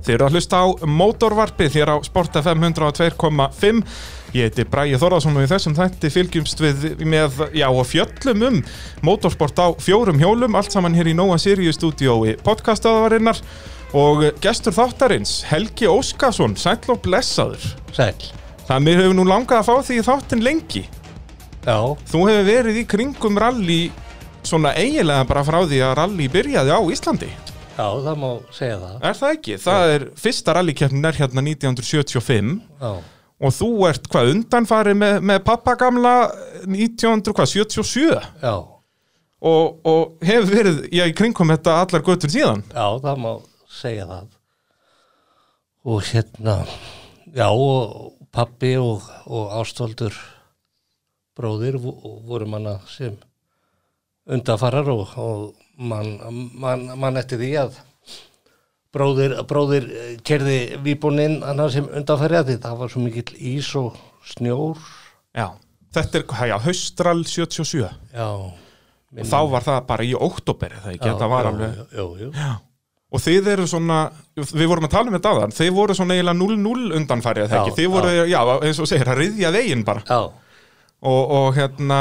Þið eru að hlusta á mótorvarpið hér á Sport FM 102.5 Ég heiti Bræði Þorðarsson og í þessum þætti fylgjumst við með, já og fjöllum um mótorsport á fjórum hjólum allt saman hér í Nóa Sirius stúdiói podcastaðarinnar og gestur þáttarins Helgi Óskarsson sæll og blessaður Sæl Það að mér hefur nú langað að fá því þáttin lengi Já, Þú hefur verið í kringum rally svona eiginlega bara frá því að rally byrjaði á Íslandi. já, það má segja það Er það ekki? Það er fyrsta rallykeppnin er hérna 1975 Já, og þú ert hvað undanfarið með, með pappa gamla 1977 já, og, og hefur verið já, í kringum þetta allar götur síðan. já, það má segja það Og hérna Já, og pappi og, og ástvaldur bróðir vo- voru manna sem undafarar og, og mann man, man eftir því að bróðir, bróðir eh, kerði víbúninn annað sem undafarið því það var svo mikill ís og snjór Já. Þetta er, já, haustral 77 Já, og þá var það bara í óttoberi það ekki, þetta hérna var alveg Jú, jú, jú. Og þið eru svona, við vorum að tala um þetta aðan, þið voru svona eiginlega 0-0 undanfærið eða Já, ekki, þið voru, já. eins og segir, að riðja veginn bara. Já, Og, og hérna,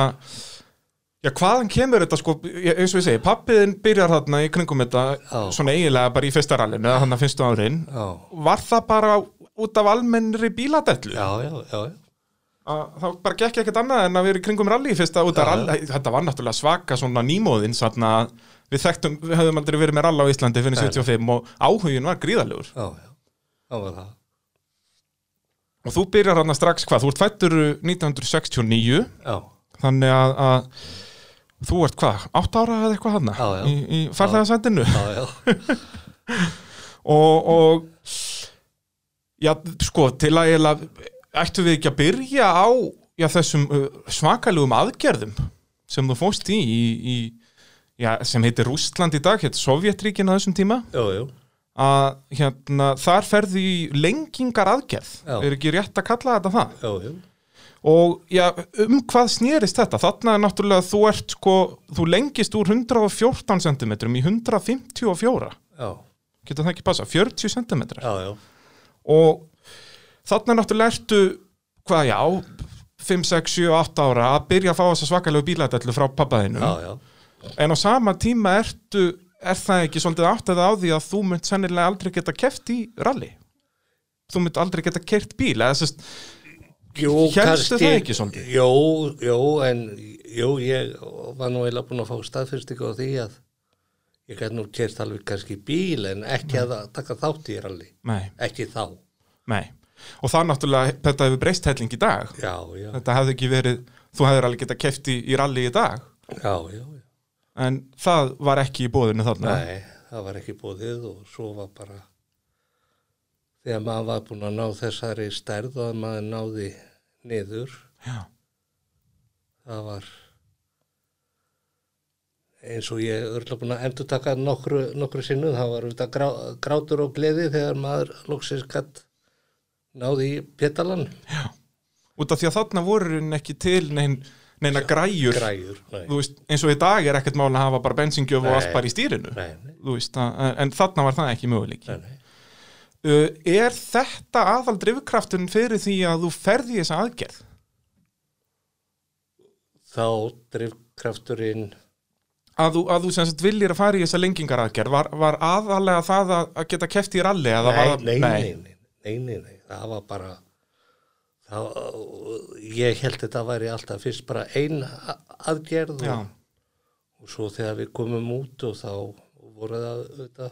já, hvaðan kemur þetta sko, ég- eins og ég segi, pappiðin byrjar þarna í kringum þetta, Já. svona eiginlega bara í fyrsta rallinu, eða hann að fyrstu árin. já, Var það bara út af almennri bíladellu? já, já, já, já. Að Það bara gekk ekkert annað en að við erum í kringum rally í fyrsta út af rally, þetta var náttúrulega svaka svona nýmóðin, svona, við þekktum, við höfum aldrei verið með rally á Íslandi fyrir 75 og áhugin var gríðalegur. já, já. Það var það. Og þú byrjar hann strax hvað, þú ert fættur 1969, Já, þannig að, að þú ert hvað, 8 ára eða eitthvað hann Já, já. í, í farþegarsendinu já, já. og, og já, sko, til að eiginlega, ættu við ekki að byrja á já, þessum uh, svakalugum aðgerðum sem þú fóst í, í, í já, sem heitir Rústland í dag, heitir Sovjetríkin á þessum tíma Jú, jú. að hérna, þar ferði í lengingar aðgerð, Já. er ekki rétt að kalla þetta það? Jú, jú. Og já, um hvað snýrist þetta? Þarna er náttúrulega þú ert sko, þú lengist úr 114 cm í 154. Já, Getur það ekki passa? 40 cm. já, já. Og þarna náttúrulega ertu, hvað já, 5, 6, 7, 8 ára að byrja að fá þessa svakalegu bílætallu frá pappaðinu. Já, já. En á sama tíma ertu, er það ekki svolítið áttið á því að þú mynd sennilega aldrei geta keft í rally? Þú mynd aldrei geta kert bíl, eða sérst, Jú, Hélstu það ekki svolítið? Jú, jú, en jú, ég var nú eiginlega búin að fá staðfyrstingu á því að ég gæti nú kert alveg kannski bíl en ekki að taka þátt í ralli. nei, Ekki þá. nei. Og það náttúrulega, þetta hefur breyst helling í dag. Já, já, já, þetta hefði ekki verið, þú hefðir alveg getað kefti í rally í dag, já, já. en það var ekki í bóðinu þarna. Nei, það var ekki búið og svo var bara þegar maður var búin að ná þessari stærð og að maður náði niður Já, það var eins og ég örla búin að endur taka nokkru, nokkru sinnum það var auðvitað grá, grátur og gleði þegar maður loksins gatt náði í pétalan út af því að þarna voru henni ekki til nein, neina græjur, græjur nei, þú veist, eins og í dag er ekkert mál að hafa bara bensingjöf og Nei. allt bara í stýrinu, nei, nei, þú veist, að, en þarna var það ekki möguleik. nei, nei. Uh, er þetta aðal drifkrafturinn fyrir því að þú ferði þessa aðgerð? þá drifkrafturinn Að þú, að þú sem sagt viljir að fara í þessa lengingar aðgerð, var, var aðalega það að, að geta kefti í ralli? eða var það- nei, nei, nei, nei, nei, nei, nei, það var bara það, ég held þetta væri alltaf fyrst bara ein a- aðgerð Já, og, og svo þegar við komum út og þá voru það þetta,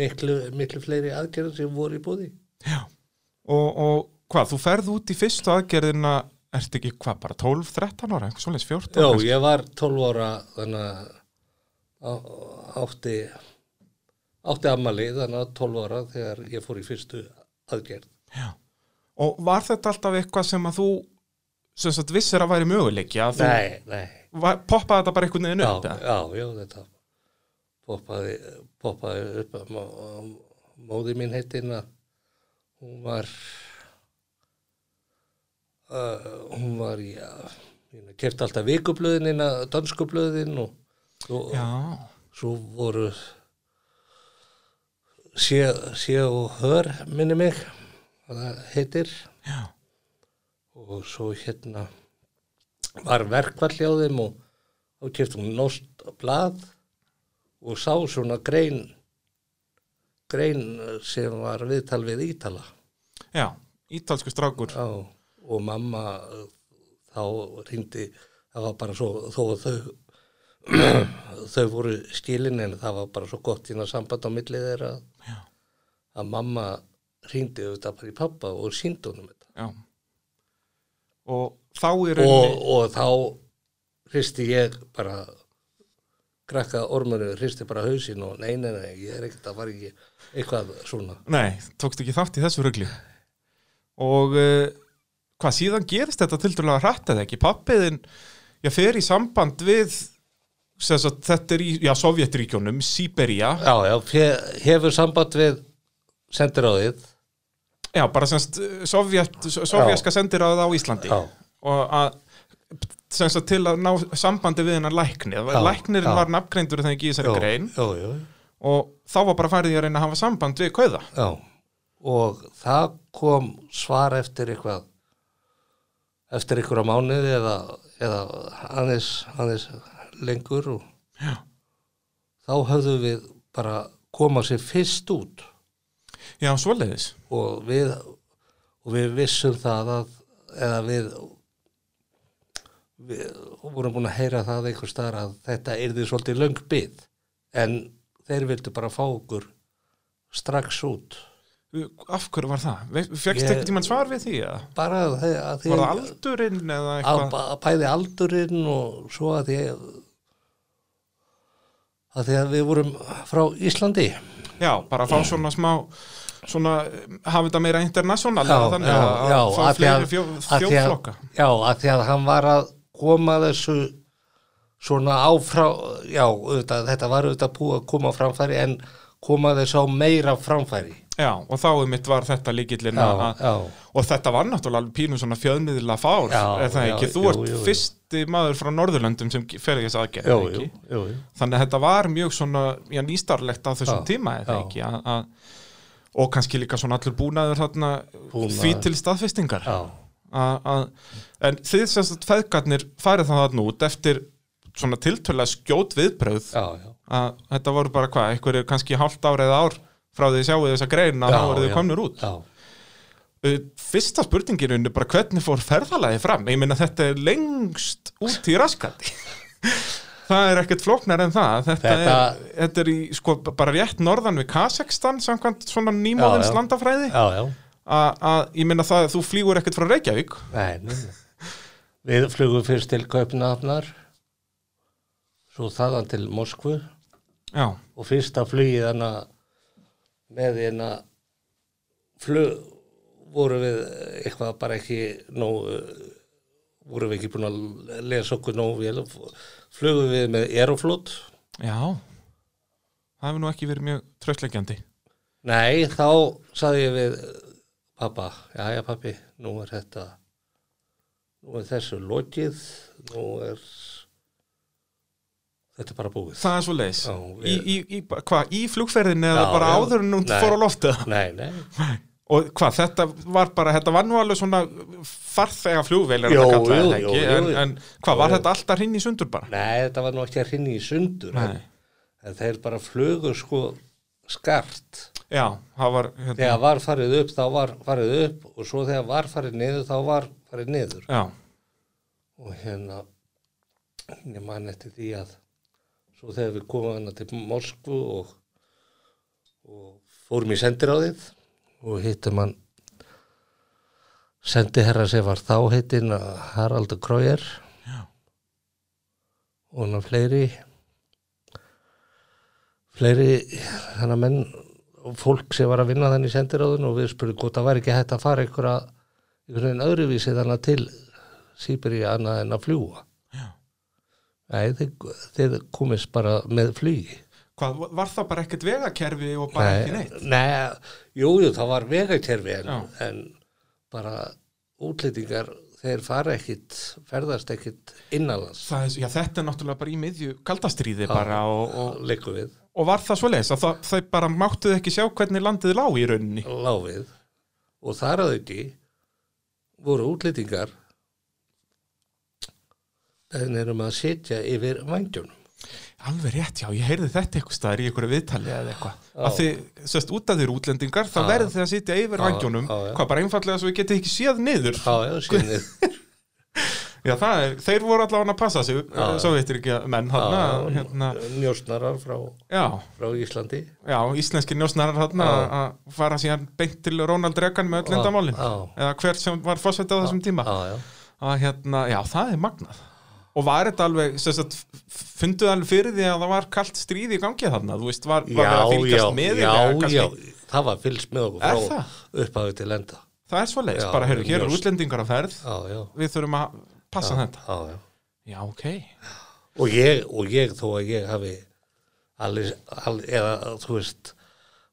miklu, miklu fleiri aðgerð sem voru í búði og, og hvað, þú ferð út í fyrstu aðgerðina ertu ekki hvað, bara 12, 13 ára einhvers svoleiðis 14 Já, kannski? ég var 12 ára þannig að á- átti átti ammali þannig að 12 ára þegar ég fór í fyrstu aðgerð og var þetta alltaf eitthvað sem að þú sem sagt vissir að væri möguleiki að þú Nei, nei var, poppaði þetta bara einhvern veginn upp já, eða? já, já, þetta poppaði, poppaði upp að mó- móði mín heitin að hún var uh, hún var já, hérna, kefti alltaf vikublöðin inn að dansku blöðin og, og já, svo voru sé, sé og hör minni mig hvað það heitir Já. og svo hérna var verkvall hjá þeim og þá keftum við nost blað og sá svona grein grein sem var viðtal við Ítala Já, ítalsku strákur. Já, og mamma uh, þá hringdi, það var bara svo, þó að þau, þau voru skilin en það var bara svo gott hérna samband á milli þeirra Já. að mamma hringdi auðvitað bara í pappa og síndi honum þetta. Já. Og þá í Og, rauninni... og þá hristi ég bara, krakka ormurinn hristi bara hausinn og nei, nei, nei, ég er ekkert að var ekki eitthvað svona. Nei, tókst ekki þátt í þessu rugli. Og uh, hvað síðan gerist þetta tildulega hratt eða ekki? Pappiðin, já, fer í samband við, sem sagt, þetta er í, já, Sovjetríkjónum, Sýberia. Já, já, fe- hefur samband við sendiráðið. Já, bara semst sovjet, sovjaska sendiráð á Íslandi Já. og að semst að til að ná sambandi við hennar lækni Já, læknirinn já. var nafngreindur þegar ekki í þessari grein Jó, jó, jó. og þá var bara farið í að reyna að hafa samband við kauða Já, og það kom svar eftir eitthvað eftir einhverja mánuði eða, eða aðeins, aðeins lengur og Já. þá höfðum við bara koma sér fyrst út Já, svoleiðis og við og við vissum það að eða við við vorum búin að heyra það einhver staðar að þetta yrði svolítið löng bið en þeir vildu bara fá okkur strax út Af hverju var það? Fjöxt Ég- ekki tímann svar við því? Eða? bara að þeir, að Var það þeir aldurinn eða að eitthvað? að bæði aldurinn og svo að því að því að við vorum frá Íslandi Já, bara að fá svona smá svona, um, hafa þetta meira international Já, þannig já, að, já, að fá af því að- fleiri fjó, af því að- þjóðflokka já, að því að hann var að koma þessu svona áfrá já, auðvitað, þetta var auðvitað búið að koma á framfæri en koma þessu á meira framfæri Já, og þá um mitt var þetta líkillin já, að já, Og þetta var náttúrulega alveg pínu svona fjöðmiðla fár, Já, er það já, ekki? Þú jú, ert jú, jú. fyrsti maður frá Norðurlöndum sem fer þess aðgerð, er já, það jú, ekki? jú, jú. Þannig að þetta var mjög svona, já, nýstarlegt á þessum Já, tíma, er það já. ekki? A, a, og kannski líka svona allur búnaður þarna Búnaður. því til staðfestingar. já, A, a, en þið sem sagt feðgarnir færið það þarna út eftir svona tiltölulega skjót viðbröð já, já að þetta voru bara hvað, einhverju kannski hálft ár eða ár frá því sjáu þessa grein að Já, þá voru þið já, komnir út. já, Uh, fyrsta spurningin er bara hvernig fór ferðalagi fram ég meina þetta er lengst út í raskandi það er ekkert flóknar en það þetta, Þetta- Er, þetta er í sko b- bara rétt norðan við Kazakstan samkvæmt svona nýmóðins Já, já. landafræði já, já. A- að ég meina það þú flýgur ekkert frá Reykjavík Nei, nei, nei. Við flugum fyrst til Kaupnafnar, svo þaðan til Moskvu já, og fyrsta flugið hana með hana flug voru við eitthvað bara ekki nógu voru við ekki búin að lesa okkur nógu vel flugum við með Aeroflot já það hefur nú ekki verið mjög tröstlegjandi nei þá saði ég við pappa, já já pappi nú er þetta nú er þessu lokið nú er þetta er bara búið það er svo leis Já, í, ég- í, í, hvað, í flugferðinni eða Já, bara já. áður en hún Nei. fór á loftið nei, nei Og hvað, þetta var bara, þetta var nú alveg svona farþega flugvélir Jó, þetta kallaði jú, þetta ekki, jú, jú, en, jú. en hvað, var þetta alltaf hinn í sundur bara? Nei, þetta var nú ekki að hrinni í sundur en, Nei. en þeir bara flugu sko skart Já, það var, hérna, þegar var farið upp þá var farið upp og svo þegar var farið niður þá var farið niður já, og hérna ég man eftir því að svo þegar við komum hana til Moskvu og, og fórum í sendiráðið og hittum hann sendiherra sem var þá heitinn Haraldur Króger Já. og hann fleiri fleiri þannig menn og fólk sem var að vinna þannig í sendiráðinu og við spurðum hvort það var ekki hægt að fara einhverja einhvern veginn öðruvísi þannig til Sýberi annað en að fljúa. Já. Nei, þeir, þeir komist bara með flugi. hvað, var það bara ekkert vegakerfi og bara ekki neitt? Nei, jú, jú, það var vegakerfi en, Já. en bara útlýtingar, þeir fara ekkit, ferðast ekkit innanlands, Það, er- já, þetta er náttúrulega bara í miðju kaldastríði bara og, og liggur við. og var það svo leis að það, það bara máttuð ekki sjá hvernig landið lá í rauninni láfið og þar að auki voru útlýtingar þannig erum að sitja yfir vangjónum alveg rétt, já, ég heyrði þetta eitthvað staðar í einhverju viðtali eða eitthvað Já. að þið, sérst, út af þér útlendingar þá Já. verðið þið að sitja yfir Já, vangjónum já, já. hvað bara einfallega svo ég geti ekki séð niður á, já, síðan já, það er, þeir voru allavega að passa sig já. svo veitir ekki að menn hann hérna, njósnarar frá, já, frá Íslandi já, íslenski njósnarar hann að að fara síðan beint til Ronald Reagan með öll Já, endamálin já. eða hver sem var fórsveit á þessum tíma á, já, að hérna, já, það er magnað og var þetta alveg, sem sagt funduð alveg fyrir því að það var kalt stríð í gangi þarna, þú veist, var, var verið að já, fylgjast já, með því eða já, kannski- já það var fylgst með okkur Er frá það? upphafi til enda það er svo leiðis, Já, bara heyrðu, hér eru ljóst. útlendingar að ferð á, já, við þurfum að passa þetta á, já. já, ok, Og, ég, og ég þó að ég hafi allir, allir eða þú veist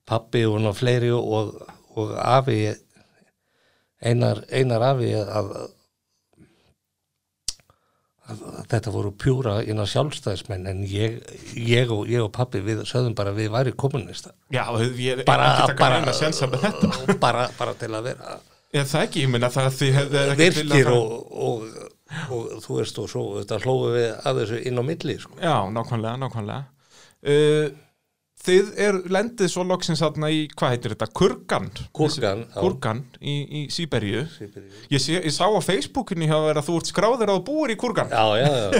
pappi og ná fleiri og, og afi einar, einar afi að, að, að þetta voru pjúra inn á sjálfstæðismenn en ég, ég, og, ég og pappi við sögðum bara að við væri kommunista já, ég bara, ekki taka bara, neina sjensa með þetta bara, bara til að vera ég, það ekki, ég meina það að því hefði ekki virkir og, og, og, þú veist og svo þetta hlóðu við að þessu inn á milli sko. já, nákvæmlega, nákvæmlega uh, þið er lendið svo loksins þarna í, hvað heitir þetta, kurgan Kúrgan, já. kurgan í, í Sýberíu Sýberíu. ég, sé, ég sá á Facebookinu hjá þér að þú ert skráður á að búir í kurgan já, já, já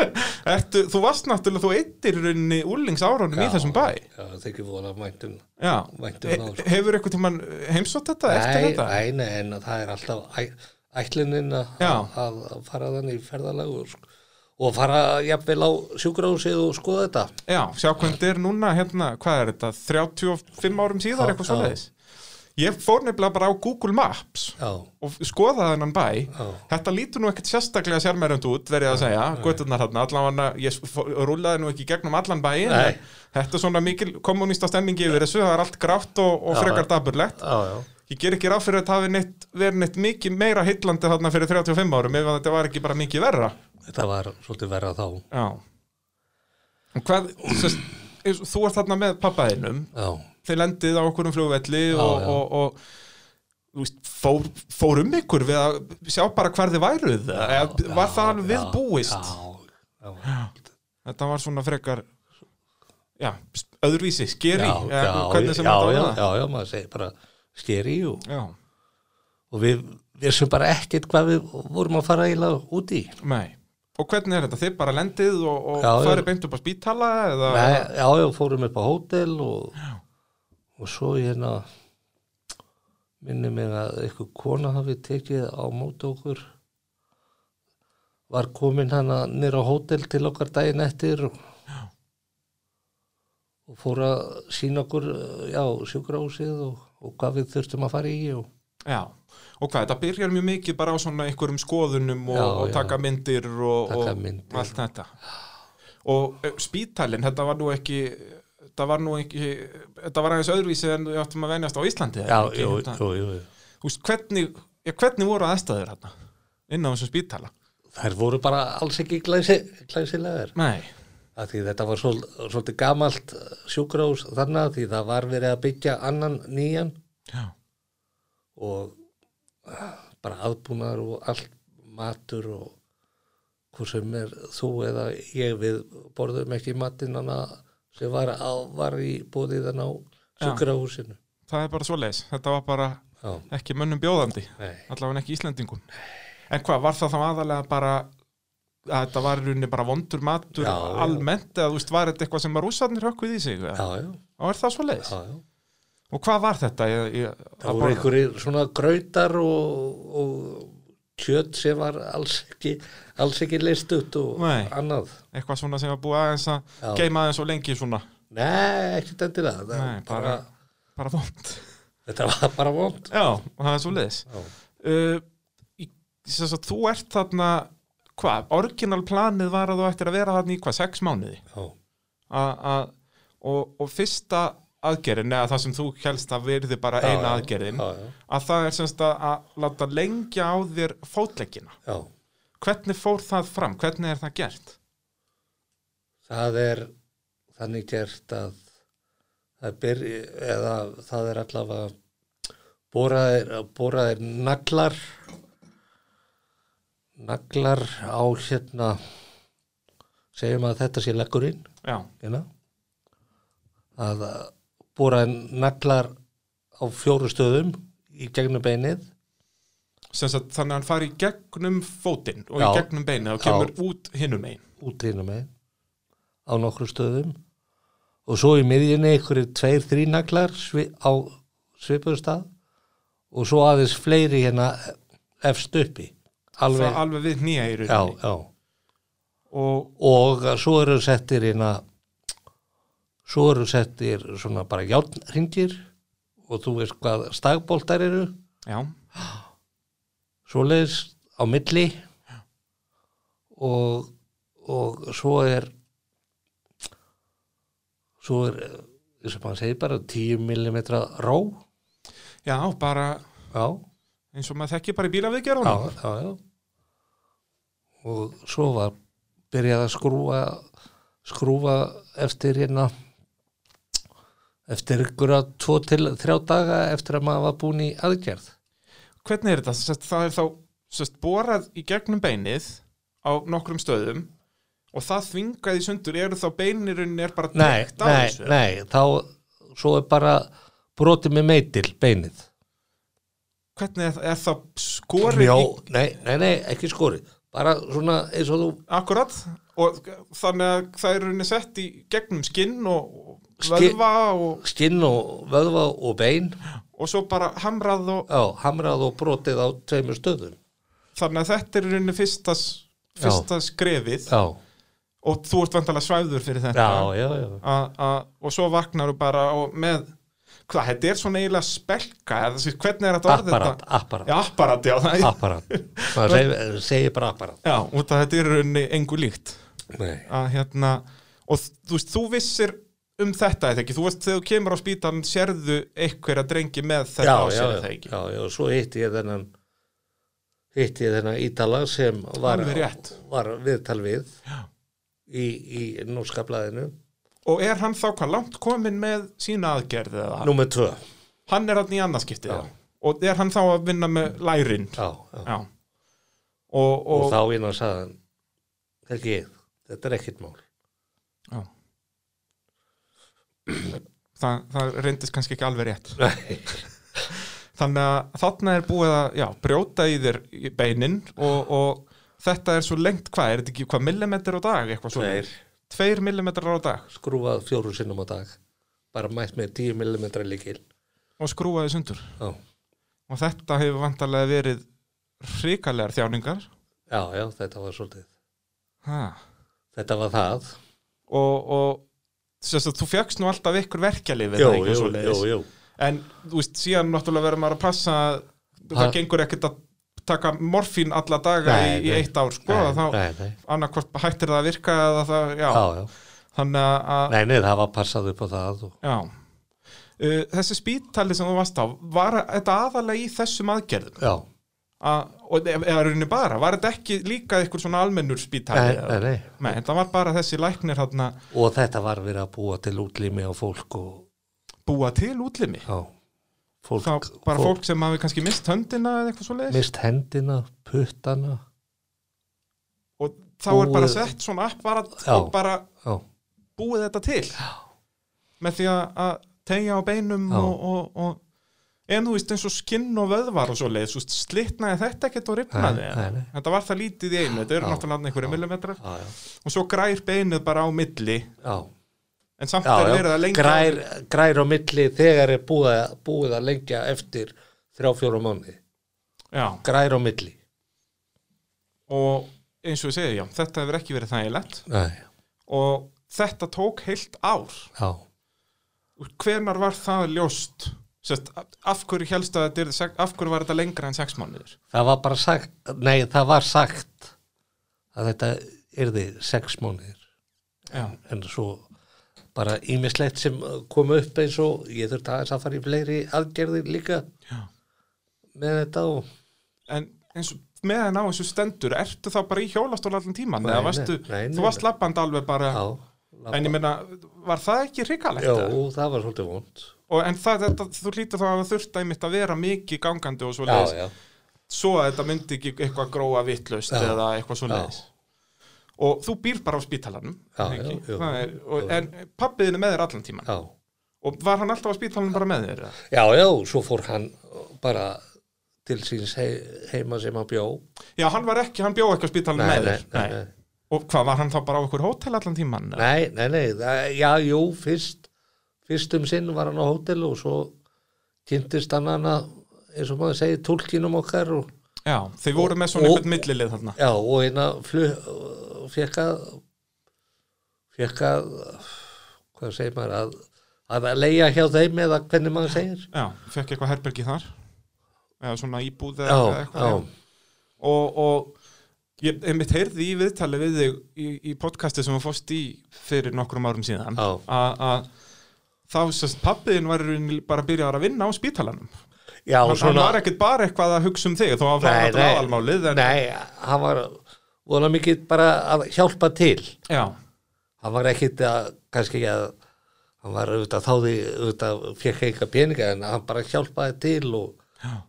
Ertu, þú varst náttúrulega, þú eittir rauninni úlingsárunum í Já, þessum bæ Já, það er ekki vola mæntum Já, Væntum He, náð, sko. hefur eitthvað tímann heimsótt þetta eftir þetta? Æ, nei, en það er alltaf æ- ætlunin að- Já. að að fara þannig í ferðalegu sko. og fara jafnvel á sjúkrahúsið og skoða þetta Já, sjá hvernig þetta er núna, hérna, hvað er þetta, 35 árum síðar, Já, eitthvað já. svoleiðis Ég fór nefnilega bara á Google Maps Já, og skoðaði hennan bæ Já. Þetta lítur nú ekkert sérstaklega sérmerjandi út, verið að segja, götturnar hérna, allan hann að, ég fó- rúllaði nú ekki í gegnum allan bæin Nei. en Þetta er svona mikil kommunista stemmingi yfir þessu, það er allt grátt og, og Já, frekar já. daburlegt já, já Ég ger ekki ráð fyrir að þetta hafi neitt, verið neitt mikið meira hillandi þarna fyrir 35 árum ef að þetta var ekki bara mikið verra. Þetta var svolítið verra þá Já. En hvað, sest, eins og þú ert þarna með pappaðinum, Já, þeir lendið á okkur um flugvelli Já, og, já. og, og, þú veist, fór, fór um ykkur við að sjá bara hvar þið væruð. Já, var það alveg já, við búist? Já, já, Þetta var svona frekar, já, s- öðruvísi, skeri, já, já, hvernig sem já, þetta já, var. já, já, maður segir bara skeri og, Já, og við vissum bara ekkert hvað við vorum að fara eiginlega út í nei. Og hvernig er þetta? Þið bara lendið og, og Já, já. farið beint upp á spítala eða? Nei, já, já, fórum upp á hótel og, og svo hérna minni mig að einhver kona hafi tekið á móti okkur var komin hana nýr á hótel til okkar daginn eftir og, og fór að sína okkur já, sjúkrahúsið og, og hvað við þurftum að fara í og Já, og hvað, þetta byrjar mjög mikið bara á svona einhverjum skoðunum og, Já, og já. taka myndir og, Taka og myndir. allt þetta og eh, spítalinn, þetta var nú ekki þetta var nú ekki þetta var aðeins öðruvísi en við áttum að venjast á Íslandi já, eða ekki, jú, þetta- jú, jú, jú. Þú veist, hvernig, já, hvernig voru aðstæður hérna inn á þessum spítala? þær voru bara alls ekki glæsi, glæsilegar Nei, að því þetta var svol, svolítið gamalt eh, sjúkrahús þannig að því það var verið að byggja annan nýjan já, og ah, bara aðbúnaður og allt matur og hvort sem er þú eða ég við borðum ekki matinana sem var, á, var í búðið þannig á sjúkrahúsinu það er bara svoleiðis þetta var bara Já, ekki mönnum bjóðandi nei, allavega ekki Íslendingum en hvað, var það þá aðalega bara að þetta var í rauninni bara vondur matur Já, já. almennt eða þú veist, var þetta eitthvað sem að rússarnir hökkuð í sig já, eða? já, og er það svo leiðis? já, já. Og hvað var þetta? Ég, ég, Það voru einhverjir svona grautar og, og kjöt sem var alls ekki, alls ekki leist út og Nei. annað. eitthvað svona sem var búið aðeins að Já. geima aðeins og lengi svona Nei, ekkert endilega. Það Nei, bara, bara, bara vond þetta var bara vond. Já, og það er svo leiðis Já. uh, í- sem sagt, Þú ert þarna hvað, orginal planið var að þú ættir að vera þarna í hvað, sex mánuði Já, a, a, og, og fyrsta aðgerðin eða það sem þú helst að verði bara Já, eina já, aðgerðin já, já. að það er semst að, að láta lengja á þér fótleggina já. hvernig fór það fram, hvernig er það gert Það er þannig gert að það ber, eða það er allavega boraðir, boraðir naglar naglar á hérna segjum að þetta sé leggurinn já, hérna að boraðir naglar á fjóru stöðum í gegnum beinið sem sagt þannig að hann fari í gegnum fótinn og í Já. gegnum beinið og Já. kemur út hinum einn út hérna með á nokkru stöðum og svo í miðjunni einhverjir tveir, þrí naglar svi, á svipuðu stað og svo aðeins fleiri hérna efst uppi alveg, alveg, alveg við nýja í já, rauninni já og og svo eru settir hérna svo eru settir svona bara játnringir og þú veist hvað stagboltar eru já, svoleiðis á milli og, og svo er svo er eins og maður segir bara 10 mm ró já, bara já, eins og maður þekki bara í já, bílaviðgerðunum já, já og svo var byrjað að skrúfa skrúfa eftir hérna eftir ykkur að tvo til þrjá daga eftir að maður var búin í aðgerð hvernig er þetta? Sest, það er þá sest, borað í gegnum beinið á nokkrum stöðum og það þvingaði í sundur eru þá beinirinn er bara nei, tryggt á nei, þessu nei, þá svo er bara brotið með meitil beinið hvernig er, er það skorið Mjó, í, nei, nei, nei, ekki skorið bara svona eins og þú akkurat og þannig að það er rauninni sett í gegnum skinn og og Skinn- vöðva og, skinn og vöðva og bein og svo bara hamrað og já, hamrað og brotið á tveimur stöðum þannig að þetta er í rauninni fyrsta, s- Já. fyrsta skrefið já, og þú ert vantalega svæður fyrir þetta já, já, já. a, a, og svo vagnar þú bara og með hvað, þetta er svona eiginlega spelka eða þessi, hvernig er þetta orðið apparat, þetta? apparat, Já, apparat, já, það, er- apparat maður segir, segir bara apparat já, út að þetta er í rauninni engu líkt nei, að hérna, og þú veist, þú vissir um þetta eða ekki, þú veist, þegar þú kemur á spítan sérðu einhverja drengi með já, þetta á já, sér eða já, ekki já, já, svo hitti ég þennan hitti ég þennan ítala sem var, Alveg rétt. var viðtal við Já. í, í norska blaðinu og er hann þá hvað langt kominn með sína aðgerð eða Númer tvö hann er hann í annarskiptið já. og er hann þá að vinna með lærin já, já. já og, Og, og, þá innan sagði hann Helgi, þetta er ekkert mál Já. Það, það reyndist kannski ekki alveg rétt Nei, þannig að þarna er búið að já, brjóta í þér í beinin og, og þetta er svo lengt hvað, er þetta ekki hvað millimetr á dag eitthvað svo Tveir. tveir millimetrar á dag skrúfað fjóru sinnum á dag bara mætt með 10 mm líkil og skrúaði sundur já. og þetta hefur vantarlega verið hrikalegar þjáningar já, já, þetta var svolítið ha. Þetta var það og, og sérst, þú fjökkst nú alltaf ykkur verkjalið Jú, jú, jú, jú en þú veist, síðan náttúrulega verður maður að passa að Ha- það gengur ekkert að taka morfín alla daga Nei, í, í nei. eitt ár sko, nei, að þá nei, nei, annarkvort hættir það að virka eða það, já, já, já. þannig að- að nei, nei, það var passað upp á það og... já. Uh, þessi spítali sem þú varst á var þetta aðalega í þessum aðgerðum Já, að, og, eða rauninni bara, var þetta ekki líka einhver svona almennur spítali nei, eða- nei, nei nei, þetta var bara þessi læknir hann að Og þetta var verið að búa til útlimi á fólk og búa til útlimi já, fólk, þá bara fólk sem hafi kannski mist höndina eða eitthvað svo leiðis mist hendina, puttana og þá er bara Búið- sett svona apparat Já. og bara Já, búið þetta til já. með því að- að tegja á beinum Já. og, og, og en þú veist eins og skinn og vöðvar og svo leið, svo slitnaði þetta ekkert og ripnaði Nei, nei, nei. þetta var það lítið í einu, þetta eru náttúrulega einhverju millimetrar já, já, og svo grær beinið bara á milli já. en samt já, er já, verið að lengja grær, grær á milli þegar er búið, að- búið að lengja eftir þrjá fjóra mánuði já, grær á milli og eins og ég segi, já, þetta hefur ekki verið þægilegt Nei, og þetta tók heilt ár já, hvenar var það ljóst Sest, af hverju helst að þetta er af hverju var þetta lengra en sex mánuðir það var bara sagt nei, það var sagt að þetta yrði sex mánuðir já, en svo bara ímislegt sem kom upp eins og ég þurfti aðeins að fara í fleiri aðgerðir líka já með þetta og en eins og meðan á þessu stendur ertu þá bara í hjólastól allan tíman Nei, eða nei, varstu, nei, nei, þú varst lappand alveg bara já, En ég meina, var það ekki hrikalegt? Jó, eða? það var svolítið vond Og, en það, þetta, þú lítur þá að það þurft að mitt að vera mikið gangandi og svo Já, já, Svo að þetta myndi ekki eitthvað gróa vittlaust Já. eða eitthvað svo já, Og þú býr bara á spítalanum. Já, ekki? já, jú. Það er, og, en pappiðin er með þér allan tíman. já Og var hann alltaf á spítalanum bara með þér? eða? Já, já, svo fór hann bara til síns hei, heima sem hann bjó Já, hann var ekki, hann bjóð ekki á spítalanum með nei, þér. nei, nei. Og hvað, var hann þá bara á ykkur hótel allan tíman? eða? Nei, nei, nei, það, já, jú, fyrst, fyrst um sinn var hann á hótel og svo kynntist hann hana, eins og maður segir, tólkinum okkar og, Já, þau voru með svona Og- einhvern millilið þarna. já, og hérna flug, fekk að, fekk að, hvað segir maður, að, að leia hjá þeim eða hvernig maður segir. Já, fekk eitthvað herbergi þar eða svona íbúð Já, eða já, eitthvað og, og ég einmitt heyrði í viðtali við þig í, í podcasti sem þú fórst í fyrir nokkrum árum síðan Já. að að þá sérst pappiðin var í rauninni bara að byrja að vinna á spítalanum já, hann, hann svona, var ekkert bara eitthvað að hugsa um þig þó að það var þetta aðalmálið en, nei, hann var vona mikið bara að hjálpa til. já, hann var ekkit að, kannski að hann var auðvitað þáði auðvitað fekk eitthvað peninga en hann bara hjálpaði til og,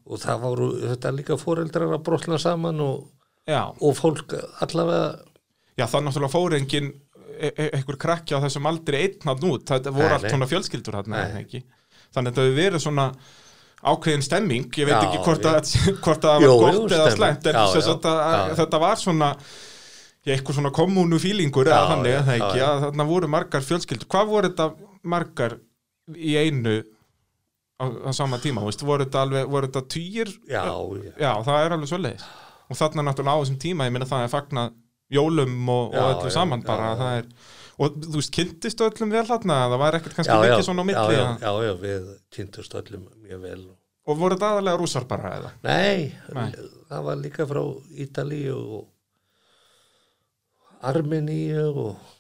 og það voru auðvitað líka foreldrar að brotna saman og, já, og fólk allavega já þannig náttúrulega fór engin e e einhver krakki á þessum aldrei einn að nút, þetta voru Nei, allt nei. svona fjölskyldur þarna, Nei. eða ekki þannig að þetta hefur verið svona ákveðin stemming, ég veit Já, ekki hvort já. að, hvort að það Jú, var jú, gott eða stemming. slæmt en Já, já, já, að, að, já. þetta var svona já, eitthvað svona kommunu fílingur eða Já, þannig, já, eða já, ekki, já. að þarna voru margar fjölskyldur hvað voru þetta margar í einu á, á sama tíma, þú veist, voru þetta alveg voru þetta týjir, já, já, já, það er alveg svoleiðis og þarna náttúrulega á þessum tíma, ég minna það er fagna jólum og, Já, og öllu já, saman bara, já, já. það er og þú veist, kynntistu öllum vel þarna það var ekkert já, kannski já, mikið svona á milli já, eða? já, já, við kynntust öllum mjög vel og voru þetta aðalega rússar bara eða nei, Nei. það var líka frá Ítalíu og Armeníu og,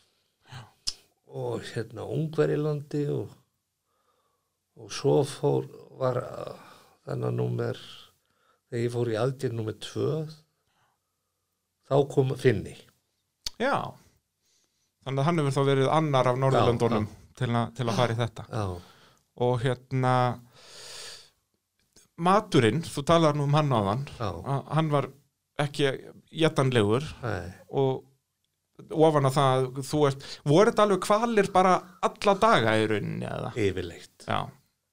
og hérna Ungverilandi og, og svo fór var uh, þennan númer þegar ég fór í aðgjörn númer tvö þá kom Finni já, þannig að hann hefur þá verið annar af Norðurlöndunum til, að- til að fara í þetta já, og hérna maturinn, þú talar nú um hann áðan já, að hann var ekki jættanlegur nei, og ofan að það þú ert, voru þetta alveg kvalir bara alla daga í rauninni eða yfirleitt já,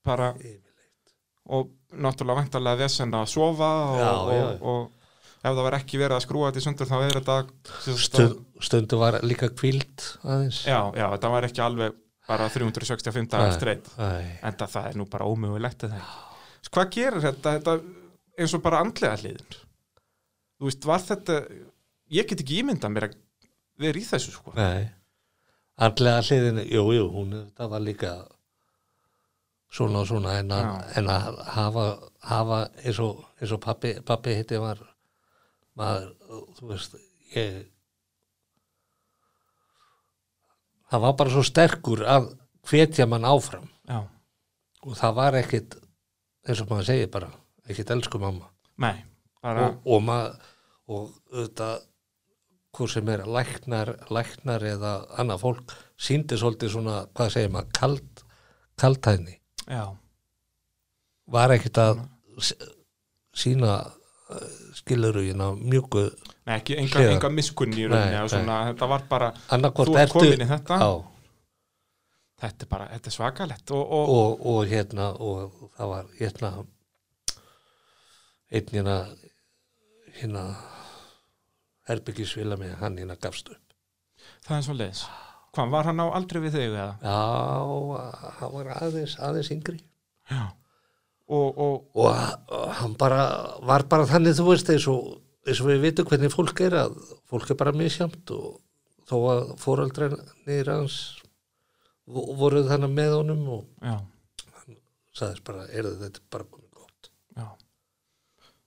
bara yfirleitt, og náttúrulega væntalega vesenda að sofa og, Já, já. og, og ef það var ekki verið að skrúa þetta í sundur þá er þetta sem sagt að- Stund, stundu var líka kvíld aðeins já, já, þetta var ekki alveg bara 365 dagar streitt Æ, en það, það er nú bara ómögulegt eða ekki hvað gerir þetta, þetta eins og bara andlega hliðin þú veist, var þetta ég get ekki ímyndað mér að vera í þessu sko Nei, andlega hliðin, jú, jú, hún það var líka svona og svona en að, Já. en að hafa, hafa eins og, eins og pappi, pappi hitti var maður, þú veist, ég það var bara svo sterkur að hvetja mann áfram já, og það var ekkit, eins og maður segir bara, ekkit elsku mamma nei, bara og, og maður og auðvitað hvort sem er læknar, læknar eða annað fólk síndi svolítið svona, hvað segir maður, kald, kaldhæðni já, var ekkit að sína skilurugina mjúku nei, ekki enga, Hliðar. enga miskunn í Nei, rauninni og svona, þetta var bara, annarkvort Þú ert komin í þetta? á, þetta er bara þetta er svakalett og, og, og, og hérna og það var hérna einn hérna hérna herbyggisvila með hann hérna gafst upp það er svo leiðis hvað, var hann á aldrei við þig eða? Já, hann var aðeins, aðeins yngri já og, og, og og hann bara, var bara þannig þú veist eins og, eins og við vitum hvernig fólk er að fólk er bara misjamt og þó að fóraldreinir hans vo- voru þannig með honum og já, sagðist bara, er þetta er bara komið gott já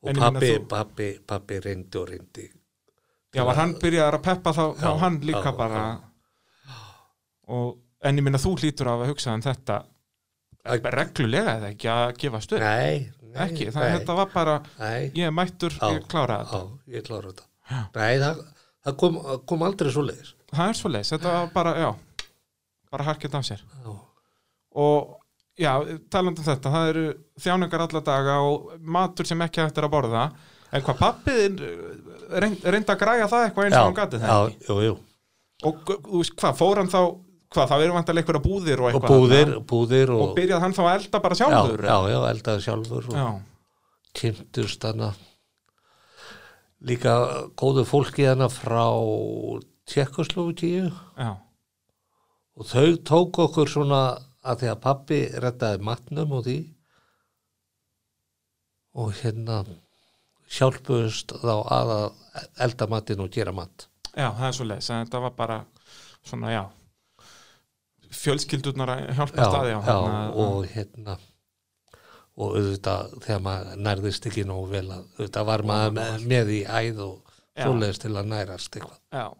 En ég og meina pappi, þú- pappi, pappi reyndi og reyndi Já, var hann byrjaðar að peppa þá, þá Já, hann líka já, bara Og, En ég minna þú hlýtur af að hugsa um þetta Að- reglulega eða ekki að gefa stuð nei, nei, ekki, það, nei, þetta var bara nei, ég er mættur, Já. ég klára þetta á, ég klára þetta Já. nei, það, það kom, kom aldrei svo leiðis það er svo leis, þetta var bara, já bara harkjönd af sér já, og já, talandi um þetta það eru þjáningar alla daga og matur sem ekki hægt er að borða en hvað pappiðin reynd, reyndi að græja það eitthvað eins og hann gati það já, jú, jú. og gu- þú veist hvað, fór hann þá hvað, það verður vantarlega einhverja búðir og og eitthvað búðir, þarna. búðir og og, byrjaði hann þá að elda bara já, sjálfur já, já, eldaði sjálfur og já, kynntust hana líka góðu fólki hana frá Tjekkoslókiíu já, og þau tók okkur svona að því að pappi rettaði matnum og því og hérna hjálpuðust þá að að elda matinn og gera mat já, það er svo leis en þetta var bara svona, já fjölskyldurnar að hjálpa staði já, og hérna og auðvitað þegar maður nærðist ekki nógu vel að auðvitað var maður með, með í æð og Já. svoleiðist til að nærast eitthvað já.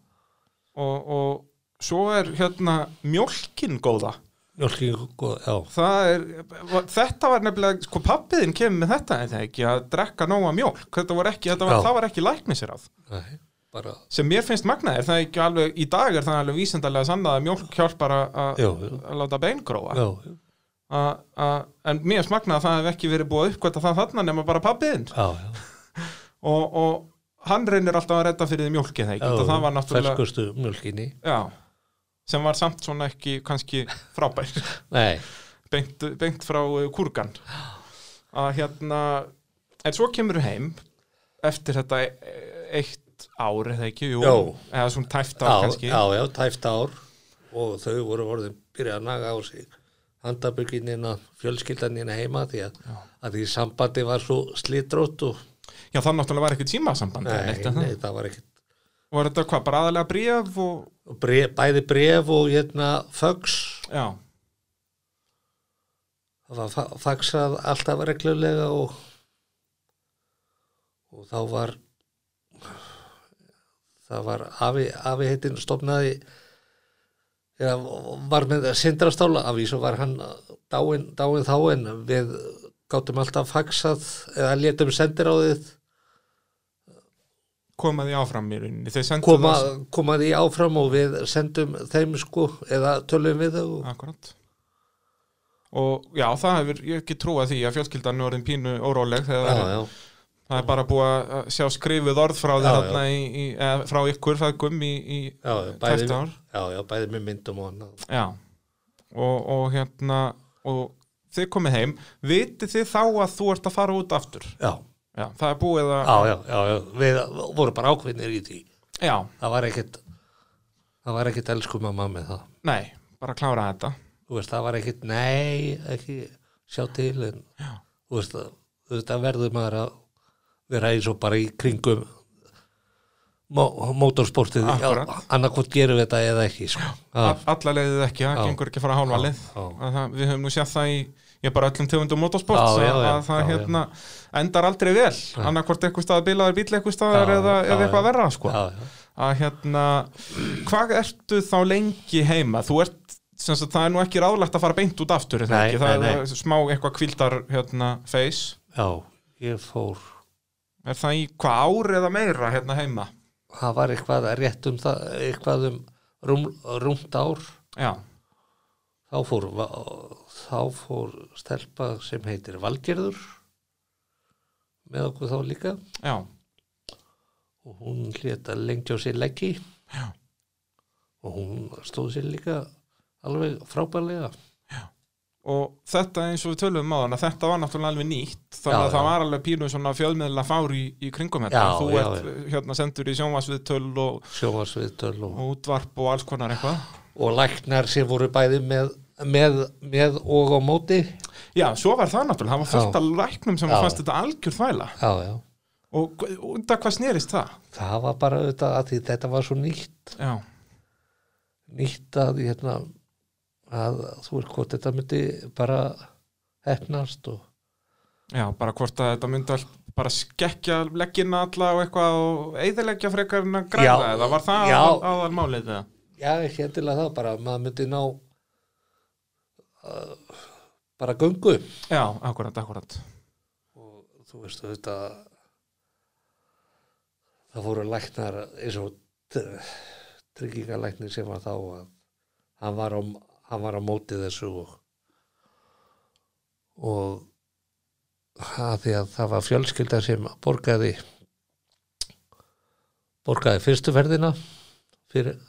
Og, og svo er hérna mjólkin góða Mjölking, já, það er, þetta var nefnilega sko pappiðin kemur með þetta en það ekki að drekka nóga mjólk, þetta var ekki, þetta var, Já. það var ekki læknisirað, nei, bara sem mér finnst magnað er það ekki alveg, í dag er það alveg vísindalega sannað að mjólk hjálpar að- að Jú, jú. að láta bein gróa já, A- a- en mér finnst magnað að það hef ekki verið búið að uppkvæta það þarna nema bara pappiðin já, já, og, og hann reynir alltaf að redda fyrir því mjólki það ekki, já og það var náttúrulega Ferskustu mjölkinni, já, sem var samt svona ekki kannski frábær nei, beint, beint frá eh, kúrgan að hérna en svo kemur þú heim eftir þetta e- eitt ár eða ekki, jú, Jó. eða svona tæft ár já, kannski, já, já, tæft ár og þau voru orðin byrjað að naga á sig handabökinina, fjölskyldanina hérna heima því að, að því sambandi var svo slitrótt og já það náttúrulega var ekkert símasamband eða nei, neitt, er það? nei, það var ekkit var þetta hvað, bara aðalega bríf og, bref, bæði bref og hérna fögs, já, það var fa- faxað alltaf reglulega og og þá var það var afi, afi heitin stofnaði eða var með sindrastála afi svo var hann dáin, dáin þá en við gáttum alltaf faxað eða létum sendiráðið koma því áfram í rauninni, þau sendu koma, það koma því áfram og við sendum þeim sko eða tölum við þau akkurat og já, það hefur, ég hef ekki trúa því að fjölskyldan er orðin pínu óróleg þegar það já, er já, Það er bara búið að sjá skrifuð orð frá þér Já, þarna í, í, eða frá ykkur fæðgum í, í já, já, tæft bæði, ár. já, já, bæði með myndum og annað Já. Og, og hérna, og þið komið heim, vitið þið þá að þú ert að fara út aftur? já, Já, það er búið að, já, já, já, já, við vorum bara ákveðnir í því já, það var ekkit það var ekkit elsku mamma með það nei, bara að klára þetta. þú veist, það var ekkit, nei, ekki sjá til en, Já. þú veist, þetta verður maður að vera eins og bara í kringum mó- mótorsportið Akkúrat. annarkvort gerum við þetta eða ekki sko. Ja. já, Alla leiðið ekki, það Já. gengur ekki að fara hálfa leið. já. Að Það, við höfum nú séð það í, ég bara öllum tegundum motorsport, Ah. Já, já, já, að það já, já. hérna endar aldrei vel, annarkvort eitthvað staðar bilaður, bíl eitthvað staðar Já, eða, já, eða eitthvað já. verra, sko. já, já, að hérna hvað ertu þá lengi heima þú ert, sem sagt, það er nú ekki ráðlegt að fara beint út aftur, er það Nei, ekki, það nei, er nei. smá eitthvað kvildar, hérna, feys já, ég fór er það í hvað ár eða meira hérna heima, það var eitthvað rétt um það eitthvað um rúm, rúmt ár já, þá fór, þá fór stelpa sem heitir Valgerður með okkur þá líka já, og hún leta lengi á sér leggi Já. og hún stóð sér líka alveg frábærlega og þetta eins og við tölum á þannig þetta var náttúrulega alveg nýtt þannig Já, að það já. var alveg pínu svona fjölmiðla fár í, í kringum þetta, Já, þú já, ert hérna sendur í sjónvarsviðtöl og, sjóvarsviðtöl og, og útvarp og alls konar eitthvað og læknar sem voru bæði með, með, með og á móti já, svo var það náttúrulega, það var fullt Já. af læknum sem Já. fannst þetta algjör þvæla já, já. og hva- undan hvað snerist það? það var bara þetta að því þetta var svo nýtt Já, nýtt að, hérna, að þú er hvort þetta myndi bara hefnast og já, bara hvort að þetta myndi allt bara skekkja leggina alla og eitthvað og eigðileggja frekar en að græða Já. eða var það Já. aðal- aðalmálið eða? Já, ekki endilega það, bara að maður myndi ná uh, bara göngu Já, akkurat, akkurat. og þú veist þetta það voru læknar eins og tryggingalæknir sem var þá að hann var, á, hann var á móti þessu og, og að því að það var fjölskylda sem borgaði borgaði fyrstu ferðina fyrir,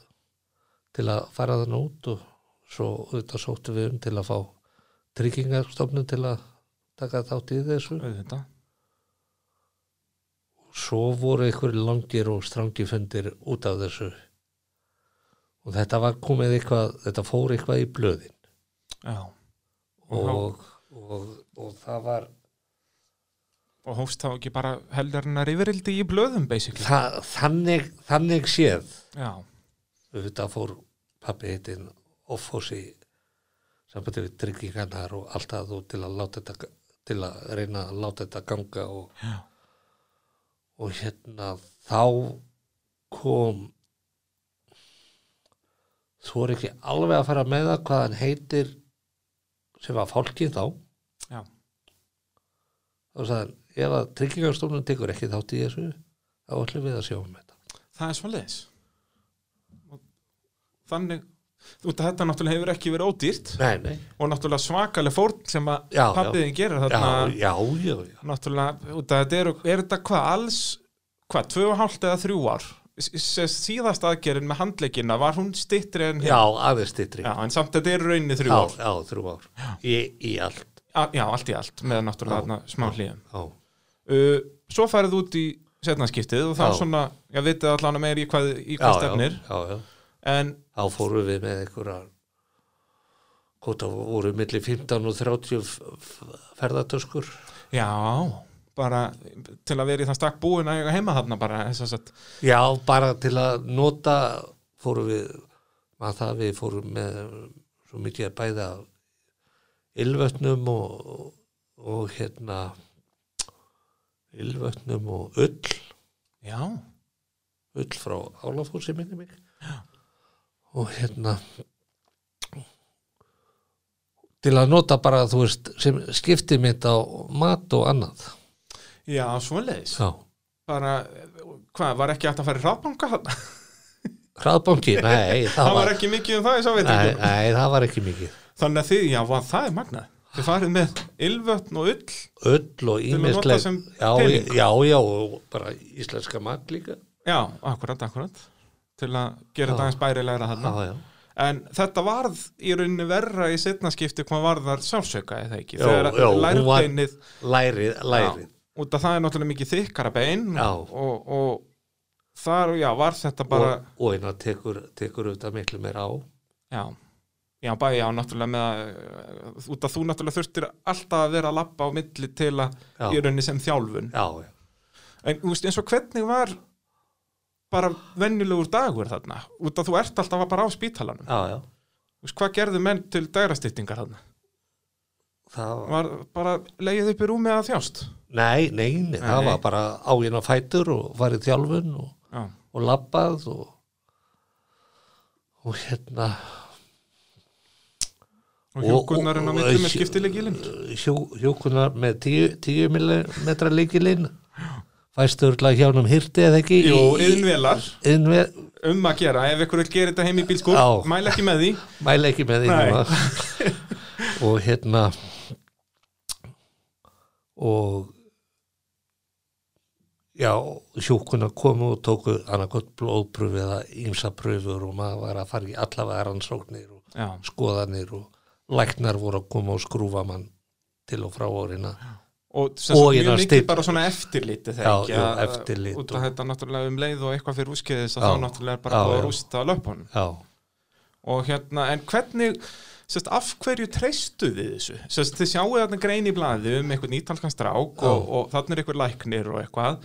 til að fara þannig út og svo auðvitað sóttu við um til að fá tryggingarstofnun til að taka þátt í þessu auðvitað. svo voru einhverjir langir og strangir fundir út af þessu og þetta var komið eitthvað þetta fór eitthvað í blöðin Já. Og, og, og, og, og það var og hófst þá ekki bara heldarinnar yfirildi í blöðum, basically. það, þannig, þannig séð Já. auðvitað fór pappi heitinn offósi sambandi við tryggingarnar og allt að þú til að láta þetta til að reyna að láta þetta ganga og, Já. og hérna þá kom þú er ekki alveg að fara með það hvað hann heitir sem var fólkið þá Já. þá sagði hann ef að tryggingarstofnun tekur ekki þátt í þessu þá ætlum við að sjá um þetta Það er svoleiðis. Og Þannig, út að þetta náttúrulega hefur ekki verið ódýrt nei, nei, og náttúrulega svakaleg fórn sem að Já, já. pappiðin gerir já, þarna. já, já, já náttúrulega, út að þetta eru, er þetta hvað alls, hvað, tvö og hálft eða þrjú ár? S- s- Síðast aðgerinn með handleikina, var hún stittri en hérna? já, aðeins stittri Já, en samt þetta eru rauninni þrjú já, ár. já, þrjú ár í, í allt A, já, allt í allt, með náttúrulega Já. þarna smá hlýjum. já, Uh, svo færið út í setnaskiptið og þá Já. svona, já, vitið allan að meir í hvað, í já, hvað já, stefnir. já, já. En, þá fórum við með einhverja hvort það voru milli 15 og 30 f- f- ferðartöskur já, bara til að vera í það stakk búin að eiga heima þarna bara, þess að, já, bara til að nota fórum við að það við fórum með svo mikið að bæða ylvötnum og, og hérna ylvötnum og ull já, ull frá Álafúsi minni mig og hérna til að nota bara þú veist sem skipti mitt á mat og annað já, svoleiðis. já, Bara, hvað, var ekki hægt að fara í hraðbanka þarna? hraðbanki, nei það var ekki mikið um það, ég sá veit nei, ekki. nei, það var ekki mikið Þannig að þið, já, vá, það er magnað. Þið farið með ylvötn og ull. öll og að nota ímisleg sem já, pening. já, já, og bara íslenska mat líka Já, akkurat, akkurat. Til að gera þetta aðeins bærilegra þarna. já, já, En þetta varð í rauninni verra í setna skipti hvað varðar sjálfsöka eða ekki. Jó, Þegar jó, hún var- lærbeinið, lærið, lærið út af það er náttúrulega mikið þykkara bein Já. og, og þar, já, var þetta bara, og, og eina tekur, tekur auðvitað miklu meira á já, já, bæja á náttúrulega með að, út af þú náttúrulega þurftir alltaf að vera að lappa á milli til að Já. í rauninni sem þjálfun. já, já En þú veist, eins og hvernig var bara venjulegur dagur þarna? Út að þú ert alltaf bara á spítalanum. Já, já. Þú veist, hvað gerðu menn til dægrastýttingar þarna? Það var, Var bara leið upp í rúmi að þjást? nei, nei, nei, það Nei. var bara áinn á fætur og farið þjálfun og, Já, og labbað og, og hérna og hjókunarinn á myndum er skiptileg ílind. Hjó, Hjókunar með tíu, tíu millimetra líkilinn fæstu örla hjánum hirti eða ekki Jú, yðnvelar, innvél um að gera, ef ykkur vil gera þetta heim í bílskúr, Já. mæla ekki með því. mæla ekki með því Nei. núna. og hérna og já, sjúkuna komu og tóku annarkot blóðpröfu eða ýmsa pröfur og maður var að fara í allavega rannsóknir og Já, skoðanir og læknar voru að koma og skrúfa mann til og frá orina og sem sagt Og mjög hérna mikið styr- bara svona eftirliti þegar Já, ekki. jú, að- eftirlit Út og- að þetta náttúrulega um leið og eitthvað fyrir úskeiðis að Já. þá náttúrulega er bara Já, búið já. að rústa löpunum. já, og hérna, en hvernig sérst, af hverju treystu þið þessu sérst, þið sjáu þarna grein í blaði um einhvern ítalskan strák og, Já. og þannig er einhver læknir og eitthvað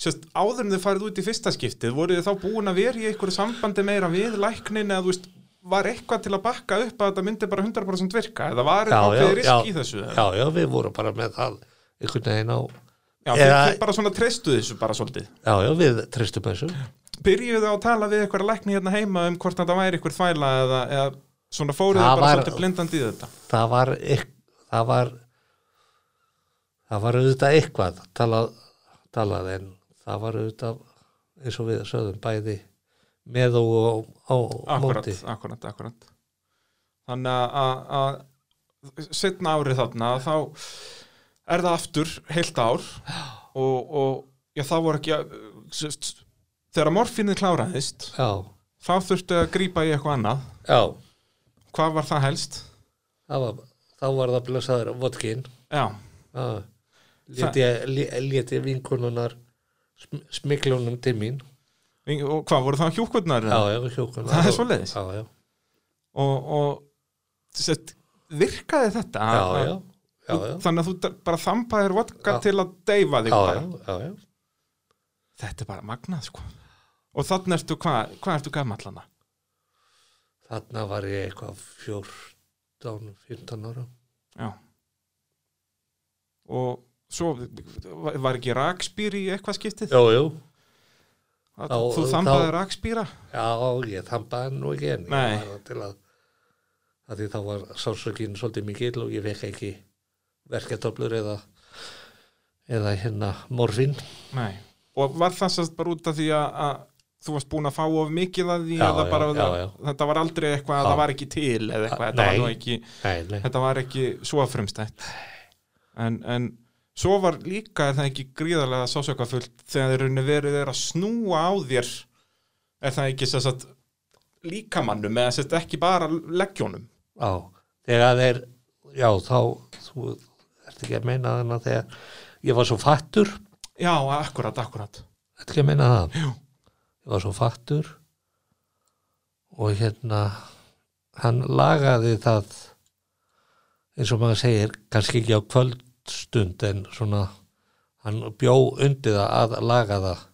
sérst, áður en þið farið út í fyrsta skiptið voruð þið þá búin að vera í einhverju sambandi meira við læknin eða þú veist var eitthvað til að bakka upp að þetta myndi bara 100% virka eða var já, eitthvað já, fyrir já, risk í þessu eða? já, já, við vorum bara með það einhvern veginn á já, þið, Eða- þið bara svona treystu þessu bara svolítið já, já, við treystum þessu byrjuðu á að tala við einhverja lækni hérna heima um hvort þetta væri einhver þvæla eða, eða svona fóruðu Það bara var- svolítið blindandi í þetta það var ekk, það var það var auðvitað eitthvað talað, talað en það var auðvitað eins og við sögðum bæði með og á, á Akkurat, móti akkurat, akkurat þannig að- að að setna árið þarna þá er það aftur heilt ár og, og já, það voru ekki að, sest, þegar morfinið kláraðist já, þá þurfti að grípa í eitthvað annað já, hvað var það helst? það var, þá var það blessaður vodkin, Já, já, leti, leti vinkonunar smiklunum til mín, og hvað voru það hjúkvöldnar? já, já, hjókunar. Það er svoleiðis. Já, já, og, og sett, virkaði þetta já, já, já, já, þannig að þú d- bara þampaðir vodka Já. til að deyfa þig já, bara. já, já, já. þetta er bara magnað sko. og þannig ertu hvað hva ertu gamallana Þarna var ég eitthvað 14, 15 ára. já og svo var- var ekki rakspýr í eitthvað skiptið Jú, jú. Að, þá- þú þá- þambaði rakspýra Já, ég þambaði nú ekki en Nei. ég var til að, að því þá var sálsökin svolítið mikill og ég fekk ekki verketöflur eða eða hérna morfin Nei. og var það sérst bara út af því að, að þú varst búin að fá of mikið að því Já, eða já, bara já, já. þetta var aldrei eitthvað að Já. það var ekki til eða eitthvað, þetta Nei. var nú ekki Nei, nei, þetta var ekki svo frumstætt en, en svo var líka er það ekki gríðarlega sásökafullt þegar þeir runni verið er að snúa á þér er það ekki sess að líkamannum eða sérst ekki bara leggjónum já þegar þeir, já þá þú ert ekki að meina þannig að þegar ég var svo fattur já, akkurat, akkurat ert ekki að meina það Jú. ég var svo fattur og hérna hann lagaði það eins og maður segir kannski ekki á kvöldstund en svona hann bjó undir það að laga það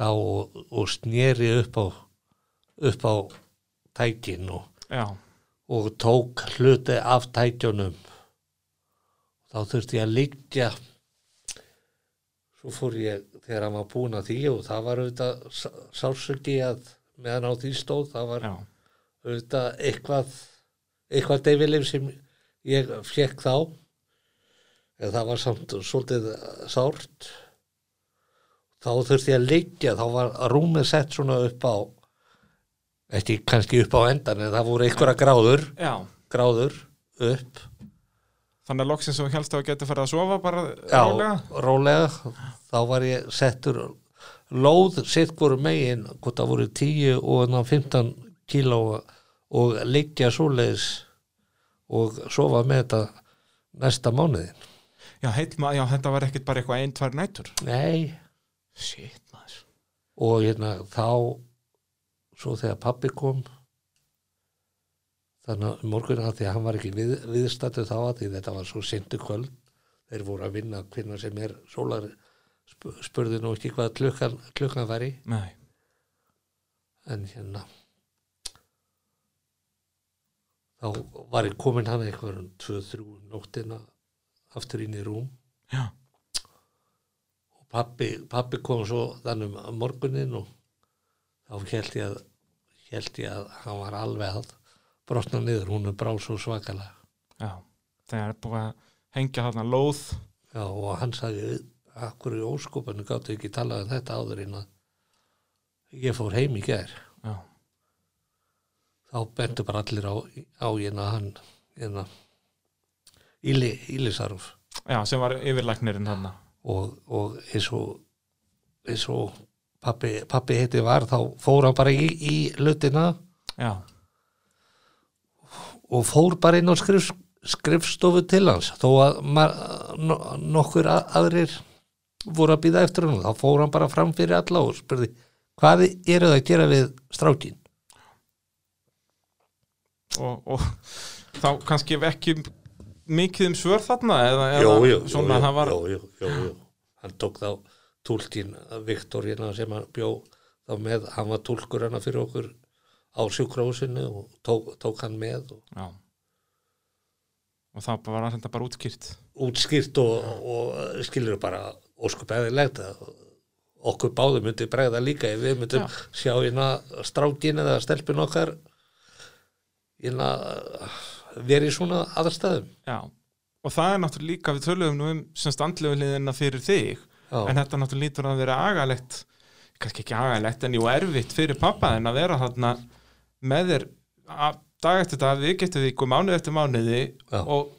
þá og, og sneri upp á upp á tækin og, já, og tók hluti af tækjunum þá þurfti ég að liggja svo fór ég þegar hann var búin að því og það var auðvitað sá- sársöki að meðan á því stóð það var já, auðvitað eitthvað eitthvað deyfileg sem ég fekk þá en það var samt svolítið sárt þá þurfti ég að liggja þá var rúmið sett svona upp á ekki kannski upp á endan en það voru einhverja gráður já gráður upp þannig að loksins og helst að geta farið að sofa bara já, rólega rólega þá var ég settur lóð sitt voru megin hvort það voru 10 og ná 15 kíló og liggja svoleiðis og sofa með þetta næsta mánuðin já, heill, ma- já, þetta var ekkit bara eitthvað ein, tvær nætur nei shit, maður og hérna þá svo þegar pappi kom þannig að morgun að því að hann var ekki við, viðstættu þá að því þetta var svo sindu kvöld þeir voru að vinna hvinna sem er sólar sp- spurði nú ekki hvað klukkan, klukkan væri Nei. en hérna þá var ég komin hann eitthvað um 2-3 nóttina aftur inn í rúm já, og pappi, pappi kom svo þannig um morgunin og þá held ég að held ég að hann var alveg að brotna niður, hún er brá svo svakalega já þegar er búið að hengja þarna lóð já, og hann sagði akkur í óskupinu gáttu ekki talað um þetta áður en að ég fór heim í gær já, þá bentu bara allir á, á hérna hann hérna Íli, Ílisarf já sem var yfirlæknirinn þarna og, og eins og eins og pappi, pappi heiti var þá fór hann bara í, í hlutina já, og fór bara inn á skrif, skrifstofu til hans þó að ma, no, nokkur a- aðrir voru að býða eftir hann þá fór hann bara fram fyrir alla og spurði hvað eru það að gera við strákin og, og þá kannski ef ekki mikið um svör þarna eða, eða svona það var jú, jú, jú, jú. hann tók þá tólkin Viktorina sem hann bjó þá með, hann var tólkur hana fyrir okkur á sjúkrahúsinu og tók, tók hann með og Já. og það var þetta bara útskýrt útskýrt og, og skilur bara óskup eðilegt að okkur báðum myndi bregða líka ef við myndum Já. sjá hérna strákin eða stelpin okkar hérna verið í svona aðstæðum Já. og það er náttúrulega líka við töluðum nú um sem standlegu hliðina fyrir þig Já. en þetta náttúrulega lítur að vera agalegt kannski ekki agalegt en jú erfitt fyrir pappa þinn að vera þarna með þér að dag eftir dag, vik eftir viku, mánuð eftir mánuði Já. og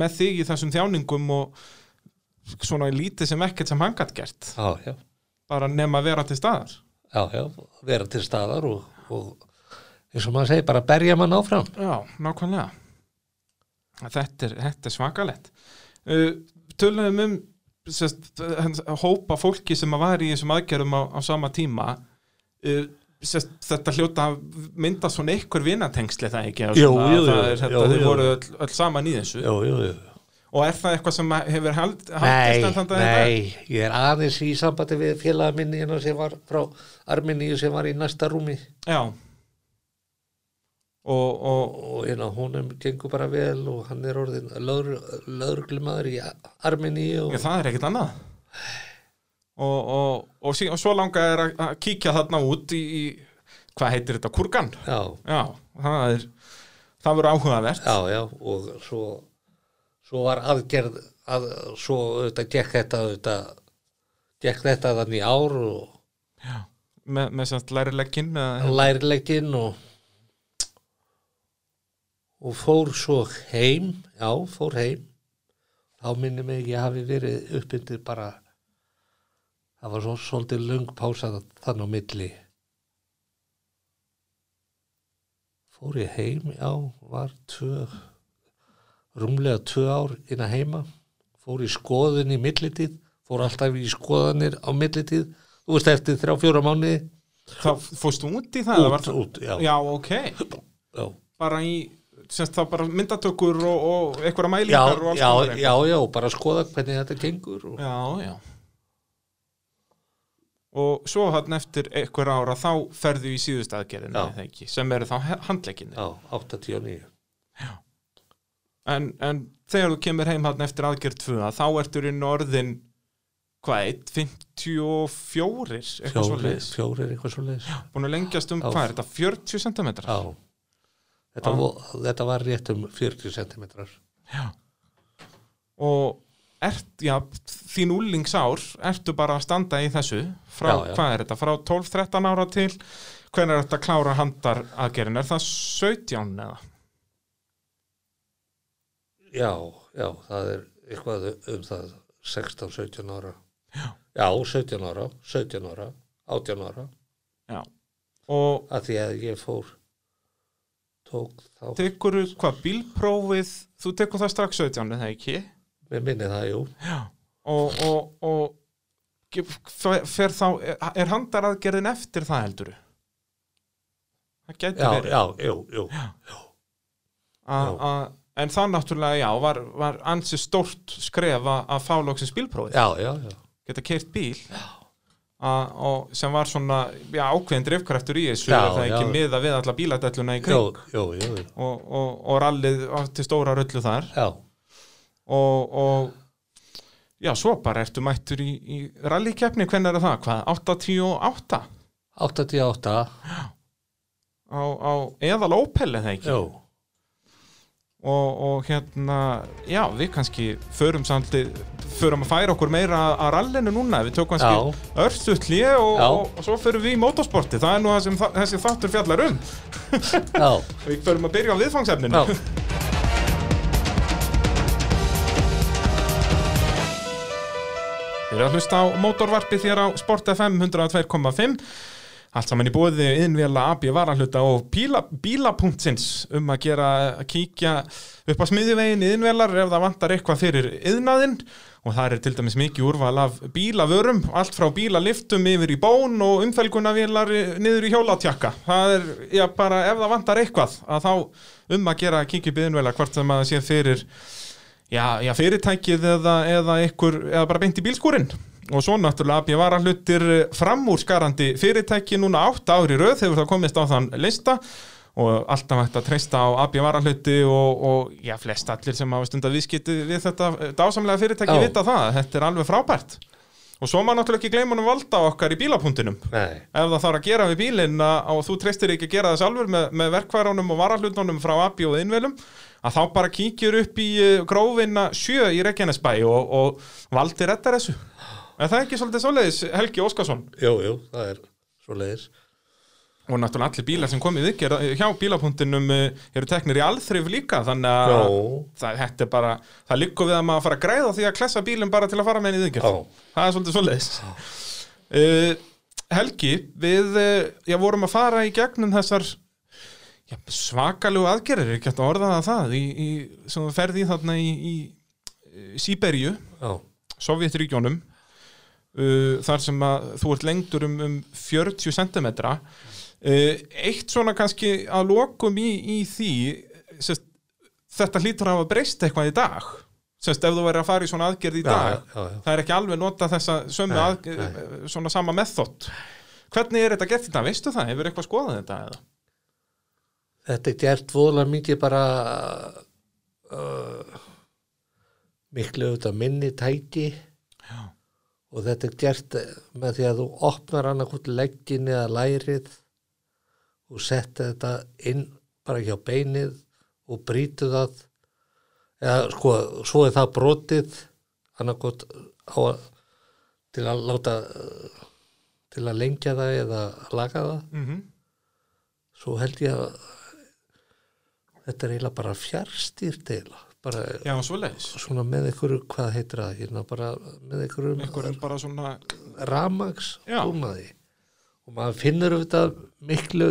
með þig í þessum þjáningum og svona lítið sem ekkert sem hann gætt gert já, já, bara nema að vera til staðar já, já, vera til staðar og, og eins og maður segir, bara berja mann áfram. Já, nákvæmlega Þetta er, þetta er svakalett uh, Tölum um sest, hans, hópa fólki sem að var í þessum aðgerðum á, á sama tíma uh, sest, þetta hljóta að mynda svona einhver vinatengsli er það ekki Jú, Svona að jú, jú, það er, þetta, jú, þau jú. voru öll, öll saman í þessu Jú, jú, jú. og er það eitthvað sem að hefur hald, Nei, haldist enn þann dag í dag? nei, ég er aðeins í sambandi við félaga minni hérna sem var frá Armeníu sem var í næsta rúmi Já og, og og hérna honum gengur bara vel og hann er orðin lögreglumadur í Já, Armeníu og það er ekkert annað og, og, og, sí, og svo langa er að að kíkja þarna út í, í hvað heitir þetta, kurgan já, já, það er það verður áhugavert já, já og svo, svo var aðgerð að, svo auðvitað gekk þetta auðvitað gekk þetta þannig í ár og með, með sem lærilegginn með, lærileginn og og fór svo heim já, fór heim þá minnum ég ég hafi verið uppbyndir bara það var svo svolítið lung pása þann á milli fór ég heim, já, var tvö, rúmlega tvö ár inn að heima, fór í skoðun í millitíð, fór alltaf í skoðanir á millitíð, þú veist eftir þrjá, fjóra mánuði, þá fórstu út í það eða út, út, já, já, ok, já, bara í semst þá bara myndatökur og, og einhverja já, mælingar og alls já, konar já, já, bara skoða hvernig þetta gengur og, já, já og svo hann eftir einhver ára þá ferðu í síðust aðgerðina Já. eða ekki, sem eru þá handlegginni já, 89, en, en þegar þú kemur heim hann eftir aðgerð 2 þá ertur inn orðin hvað, eitt, 54 eitthvað svo fjórir, fjórir, eitthvað svo leiðis, búin að lengjast um Já. hvað er þetta, 40 cm já, þetta, Já. vo, þetta var rétt um 40 sentimetrar, og ert, já, þín úlingsár ertu bara að standa í þessu frá, Já, já. hvað er þetta, frá 12-13 ára til hvernig er þetta að klára handar aðgerðin, er það 17 eða? já, já, það er eitthvað um það 16-17 ára, já, 17 ára, 17 ára, 18 ára, Já og að því að ég fór tók þá tekur hvað bílprófið þú tekur það strax 17 eða ekki? við minni það, jú og, og, og ge- fer fer þá, er- er handaraðgerðin eftir það heldur það já, getur verið já, jú, jú, A, já. a, en það náttúrulega já var, var ansi stórt skref að að fá lóksins bílprófið, já, já, já geta keirt bíl a, og sem var svona já, ákveðin drifkraftur í þessu Já, er það ekki já. miða við alla bíladelluna í kring jú, jú, jú, jú. og, og, og rallið til stóra rullu þar já, og, og já, svo bara ertu mættur í, í rallikeppni, hvernig er það? Hvað? 88? 88 á, á eðal Opel eða ekki jú, og, og hérna, já við kannski förum samtlið förum að færa okkur meira að rallinu núna við tökum kannski örstutt lé og, Já. og, og svo förum við í motorsporti það er nú það sem þa- þessi þáttur fjallar um já, við förum að byrja á viðfangsefninu já Þið eru að hlusta á mótorvarpið þér á Sport FM 102.5 Allt saman í bóði innvela AB varahluta og píla, bíla.sins um að gera að kíkja upp á smiðjuvegin innvelar ef það vantar eitthvað fyrir yðnaðinn og það er til dæmis mikið úrval af bílavörum, allt frá bílaliftum yfir í bón og umfelgunavélar niður í hjólatjakka. Það er, já, bara ef það vantar eitthvað að þá um að gera að kíkja upp innvela hvort sem að sé fyrir já, já, fyrirtækið eða, eða, ykkur, eða bara beint í bílskúrin og svo náttúrulega að ég var að hlutir framúrskarandi fyrirtæki núna átt ári röð hefur það komist á þann lista og alltaf hægt að treysta á AB varahluti og, og já, flest allir sem hafa stundar viðskipti við þetta dásamlega fyrirtæki Já. vita það, þetta er alveg frábært og svo má náttúrulega ekki gleymunum valda okkar í bílapunktinum nei, ef það þarf að gera við bílinn að- og þú treystir ekki að gera það sjálfur með, með verkværunum og varahlutunum frá API og innvelum að þá bara kíkjur upp í eh, grófinna sjö í Reykjanesbæ og, og valdi rettar þessu er það ekki svolítið svoleiðis Helgi Óskarsson jú, jú, það er svo leiðis og náttúrulega allir bílar sem komið ykkur hjá bílapunktinum eh, eru teknir í alþrif líka þannig að Já. það, þetta er bara, það liggur við að maður fara að græða á því að klessa bílum bara til að fara með henni í ykkur Já. það er svolítið svoleiðis uh, Helgi, við uh, já, vorum að fara í gegnum þessar já, svakalegu aðgerðir ekki hægt að orða það það í, í, sem þú ferði í þarna í, eh, í, í Sýberíu já, Sovjetríkjónum uh, þar sem að þú ert lengdur um, um 40 cm uh, eitt svona kannski að lokum í, í því sest, þetta hlýtur að hafa breyst eitthvað í dag sest, ef þú verður að fara í svona aðgerð í Já, dag já, já. það er ekki alveg nota þessa sömu Nei, að, svona sama method hvernig er þetta gert þetta, veistu það, hefur eitthvað skoðað þetta eða? þetta er gert voðalega mikið bara uh, miklu auðvitað minni tæki Já. og þetta er gert eh, með því að þú opnar annarkvort leggin eða lærið og setta þetta inn bara hjá beinið og brýtu það eða sko, svo er það brotið annarkvort á að til að láta eh, til að lengja það eða laga það Mm svo held ég að þetta er eiginlega bara fjárstýrt eiginlega, bara já, svoleiðis svona með einhverju, hvað heitir það hérna, bara með einhverju einhverjum bara svona ramags Já. búnaði og maður finnur auðvitað miklu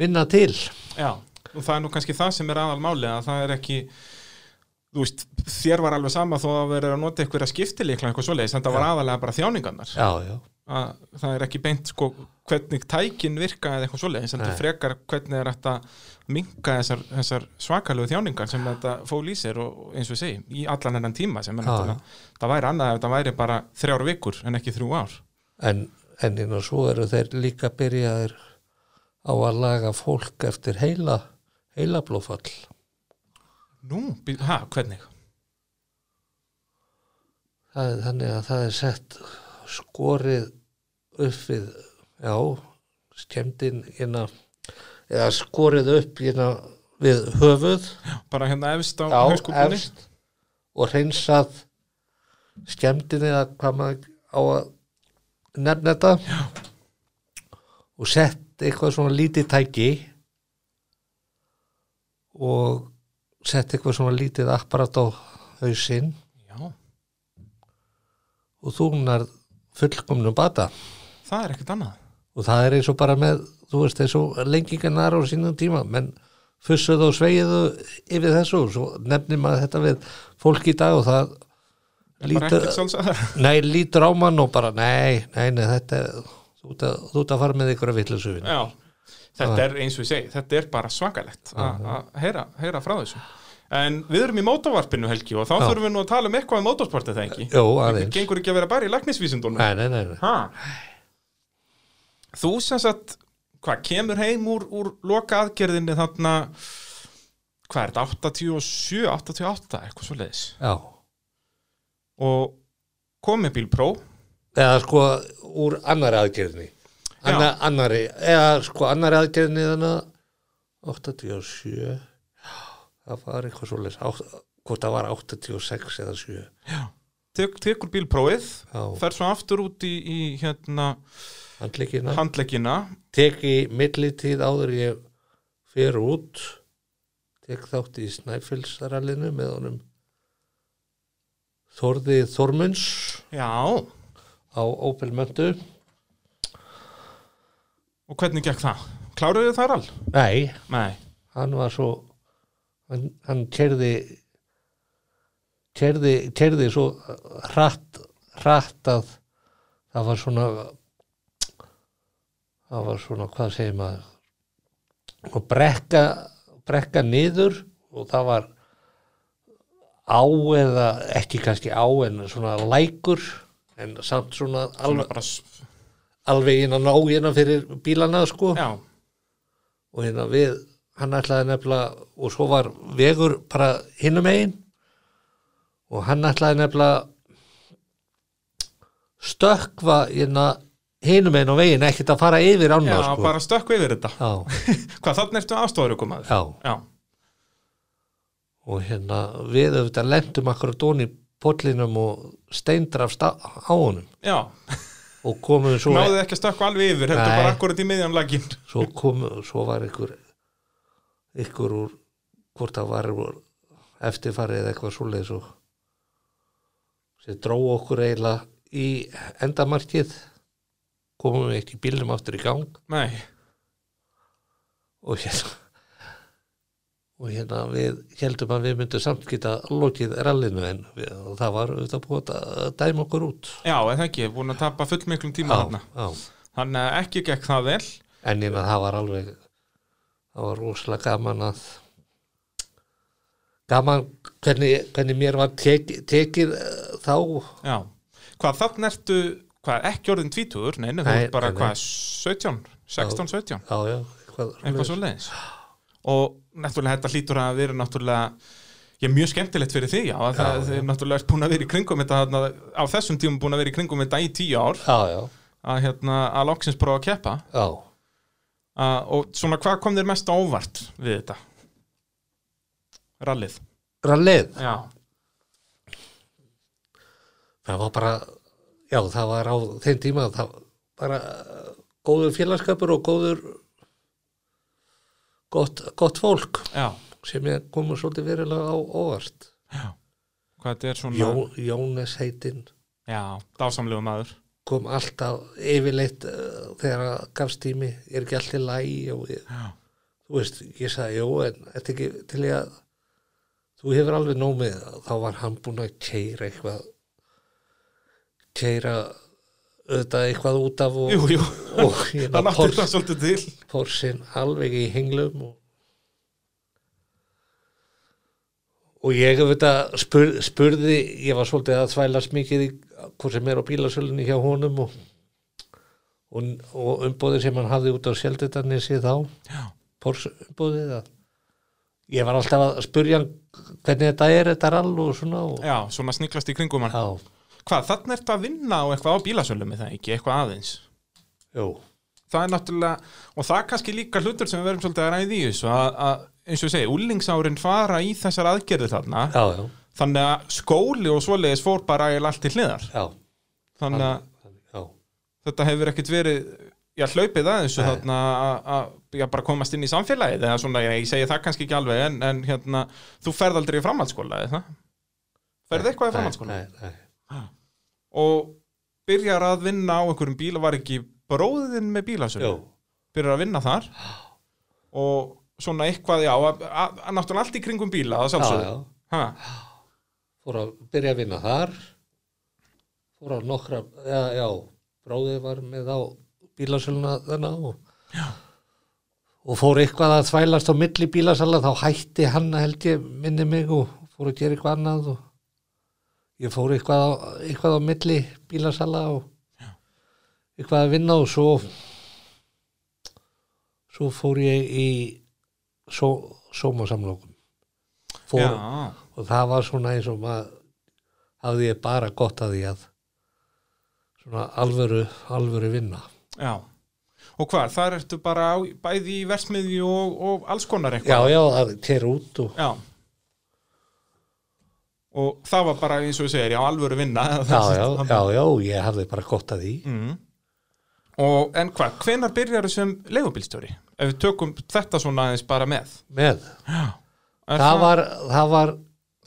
minna til Já, og það er nú kannski það sem er aðal máli að það er ekki þú veist, þér var alveg sama þó að vera að nota einhverja skiptileikla eitthvað svoleiðis, þetta var aðalega bara þjáningarnar já, já, að það er ekki beint sko hvernig tækin virka eða eitthvað svoleiðis, þetta Nei. er frekar hvernig er þetta minka þessar, þessar svakalegu þjáningar sem þetta fól í sér og og eins og ég segi, í allan hennan tíma sem er Já. náttúrulega, það væri annað ef þetta væri bara þrjár vikur en ekki þrjú ár en, en inn og svo eru þeir líka byrjaðir á að laga fólk eftir heila heilablófall Nú, bý- ha, hvernig? það er þannig að það er sett skorið upp við já, skemmdin hérna, eða skorið upp hérna við höfuð Bara hérna efst á já, hauskúpunni? efst og hreinsað skemmdin eða hvað maður á að nefna þetta já. og sett eitthvað svona lítið tæki og sett eitthvað svona lítið apparat á hausinn Já, og þú nærð fullkomnum bata það er ekkert annað og það er eins og bara með þú veist eins og lengingarnar á sínum tíma menn fussuðu og sveigiðu yfir þessu og svo nefnir maður þetta við fólk í dag og það Bara lítur, ekkert sjálfsagðar nei, lítur á mann og bara nei, nei, nei, þetta er- þú ert að, þú ert að fara með ykkur að vitlusufin Já, þetta Ah. er eins og ég segi, þetta er bara svakalegt að að heyra, heyra frá þessu. En við erum í mótavarpinu Helgi og þá þurfum við nú að tala um eitthvað um mótorsportið það ekki. Jó, Þetta aðeins gengur ekki að vera bara í læknisvísindunum. nei, nei, nei, nei. Ha? Þú sem sagt, hvað kemur heim úr, úr loka aðgerðinni þarna, hvað er þetta, 87, 88, eitthvað svo leiðis. já Og komið bílpró, eða sko úr annari aðgerðni Anna, annari, eða sko annari aðgerðni þannig að 87 já, það var eitthvað svoleiðis átt- hvort það var 86 eða 7 tek, tekur bílpróið, já, fer svo aftur út í, í hérna, handleikina handleggina, teki millitíð áður en ég fer út tek þátt í Snæfellsarallinu með honum Þorði Þormunds já, á Opel Möndu Og hvernig gekk það? Kláruðu þið þar all? nei, Nei. hann var svo hann, hann kerði kerði, kerði svo hratt, hratt að það var svona það var svona hvað segir maður og brekka brekka niður og það var á eða ekki kannski á en svona lækur en samt svona Svona alveg, bara, s- alveg innan á innan fyrir bílana sko já, og hérna við hann ætlaði nefnilega og svo var vegur bara hinum einn og hann ætlaði nefnilega stökkva hérna hinum einn á veginn ekkert að fara yfir já ána sko. bara stökku yfir þetta. já, Hvað, þannig ertu aðstofarökum að? já. Já. og hérna við auðvitað lendum akkur að dóni pollinum og steindrafst á á honum Já. og komum svo náðuð ekki að stökkva alveg yfir heldur e- Nei. bara akkurat í miðjan lagin svo kom, svo var ykkur ykkur úr hvort það var úr eftirfarið eða eitthvað svoleiðis og sem dró okkur eiginlega í endamarkið komum við ekki bílum aftur í gang Nei, og hérna og hérna við heldum að við myndum samt geta lokið rallinu en við, og það var auðvitað búið að dæma okkur út já, eða ekki, búin að tapa fullmiklum tíma þarna já. Þannig að ekki gekk það vel en ég með það var alveg það var rosalega gaman að gaman hvernig, hvernig mér var tek, tekið eh, þá Já, hvað þannig ertu hvað, ekki orðin tvítugur, nei, nei, þú Nei, ert bara nei, nei. hvað, 17, 16, 17 já, já, eitthvað, eitthvað svo leiðis og náttúrulega þetta hlýtur að vera náttúrulega ég er mjög skemmtilegt fyrir því já, já, það Já, já. er náttúrulega búin að vera í kringum þetta þarna, á þessum tímum búin að vera í kringum þetta í tíu ár já, já, að, hérna, að loksins prófa að keppa já að, og svona hvað kom þér mest á óvart við þetta rallið rallið, já, það var bara já, það var á þeim tíma það var bara eh, góður félagskapur og góður gott, gott fólk já, sem ég komur svolítið verilega á óvart hvað þetta er svona Jó, Jónes heitinn já, dásamlegu maður kom alltaf yfirleitt uh, þegar að gafst tími er ekki allt í lægi og ég, Já. þú veist, ég sagði jú en þetta ekki til ég að þú hefur alveg nóg með það." þá var hann búinn að keira eitthvað keira auðvitað eitthvað út af og, jú, jú, og hérna það náttúrulega Porsche- það svolítið til Porsin alveg í henglum og, og ég auðvitað spur, spurði, ég var svolítið að þvælast mikið í hvort sem er á bílasölunni hjá honum og, og, og umbóðið sem hann hafði út á sjeldetarnesi þá já, Pors umbóðið að ég var alltaf að spurja hann hvernig þetta er, þetta er all og svona og, já, svona sniklast í kringum hann já, hvað, þannig ertu að vinna á eitthvað á bílasölum eða ekki, eitthvað aðeins jú, það er náttúrulega, og það er kannski líka hlutur sem við verðum svolítið að ræði í þessu að, að eins og ég segi, úlingsárin fara í þessar aðgerðir þarna, já, já, þannig að skóli og svoleiðis fór bara eiginlega allt til hliðar já, þannig að já. þetta hefur ekkit verið já, hlaupið aðeins og þarna að- að já, bara komast inn í samfélagið eða svona, ég, ég segi það kannski ekki alveg en, en hérna, þú ferð aldrei í framhaldsskóla eða það? Ferð eitthvað í framhaldsskóla? Nei, nei, nei. Og byrjar að vinna á einhverjum bíla, var ekki bróðin með bílasölu? Jú, byrjar að vinna þar og svona eitthvað, já, að- að- að náttúrulega allt í kringum bíla, það já, sjálfsögðu. já. Ha, fór að byrja að vinna þar fór að nokkra já, já bróðið var með á bílasöluna þarna og, og fór eitthvað að þvælast á milli bílasala þá hætti hann held ég minni mig og fór að gera eitthvað annað og ég fór eitthvað á, eitthvað á milli bílasala og eitthvað að vinna og svo svo fór ég í só, sómasamlokum fór, já, og það var svona eins og maður hafði ég bara gott að því að svona alvöru alvöru vinna já. Og hvað, þar ertu bara á, bæði í versmiðju og, og alls konar eitthvað? já já að kera út og Já. Og það var bara eins og ég segir, já, alvöru vinna. já já já já ég hafði bara gott að því Mm. Og, en hvað, hvenær byrjar sem leigubílstjóri? Ef við tökum þetta svona aðeins bara með. með Já. það var það var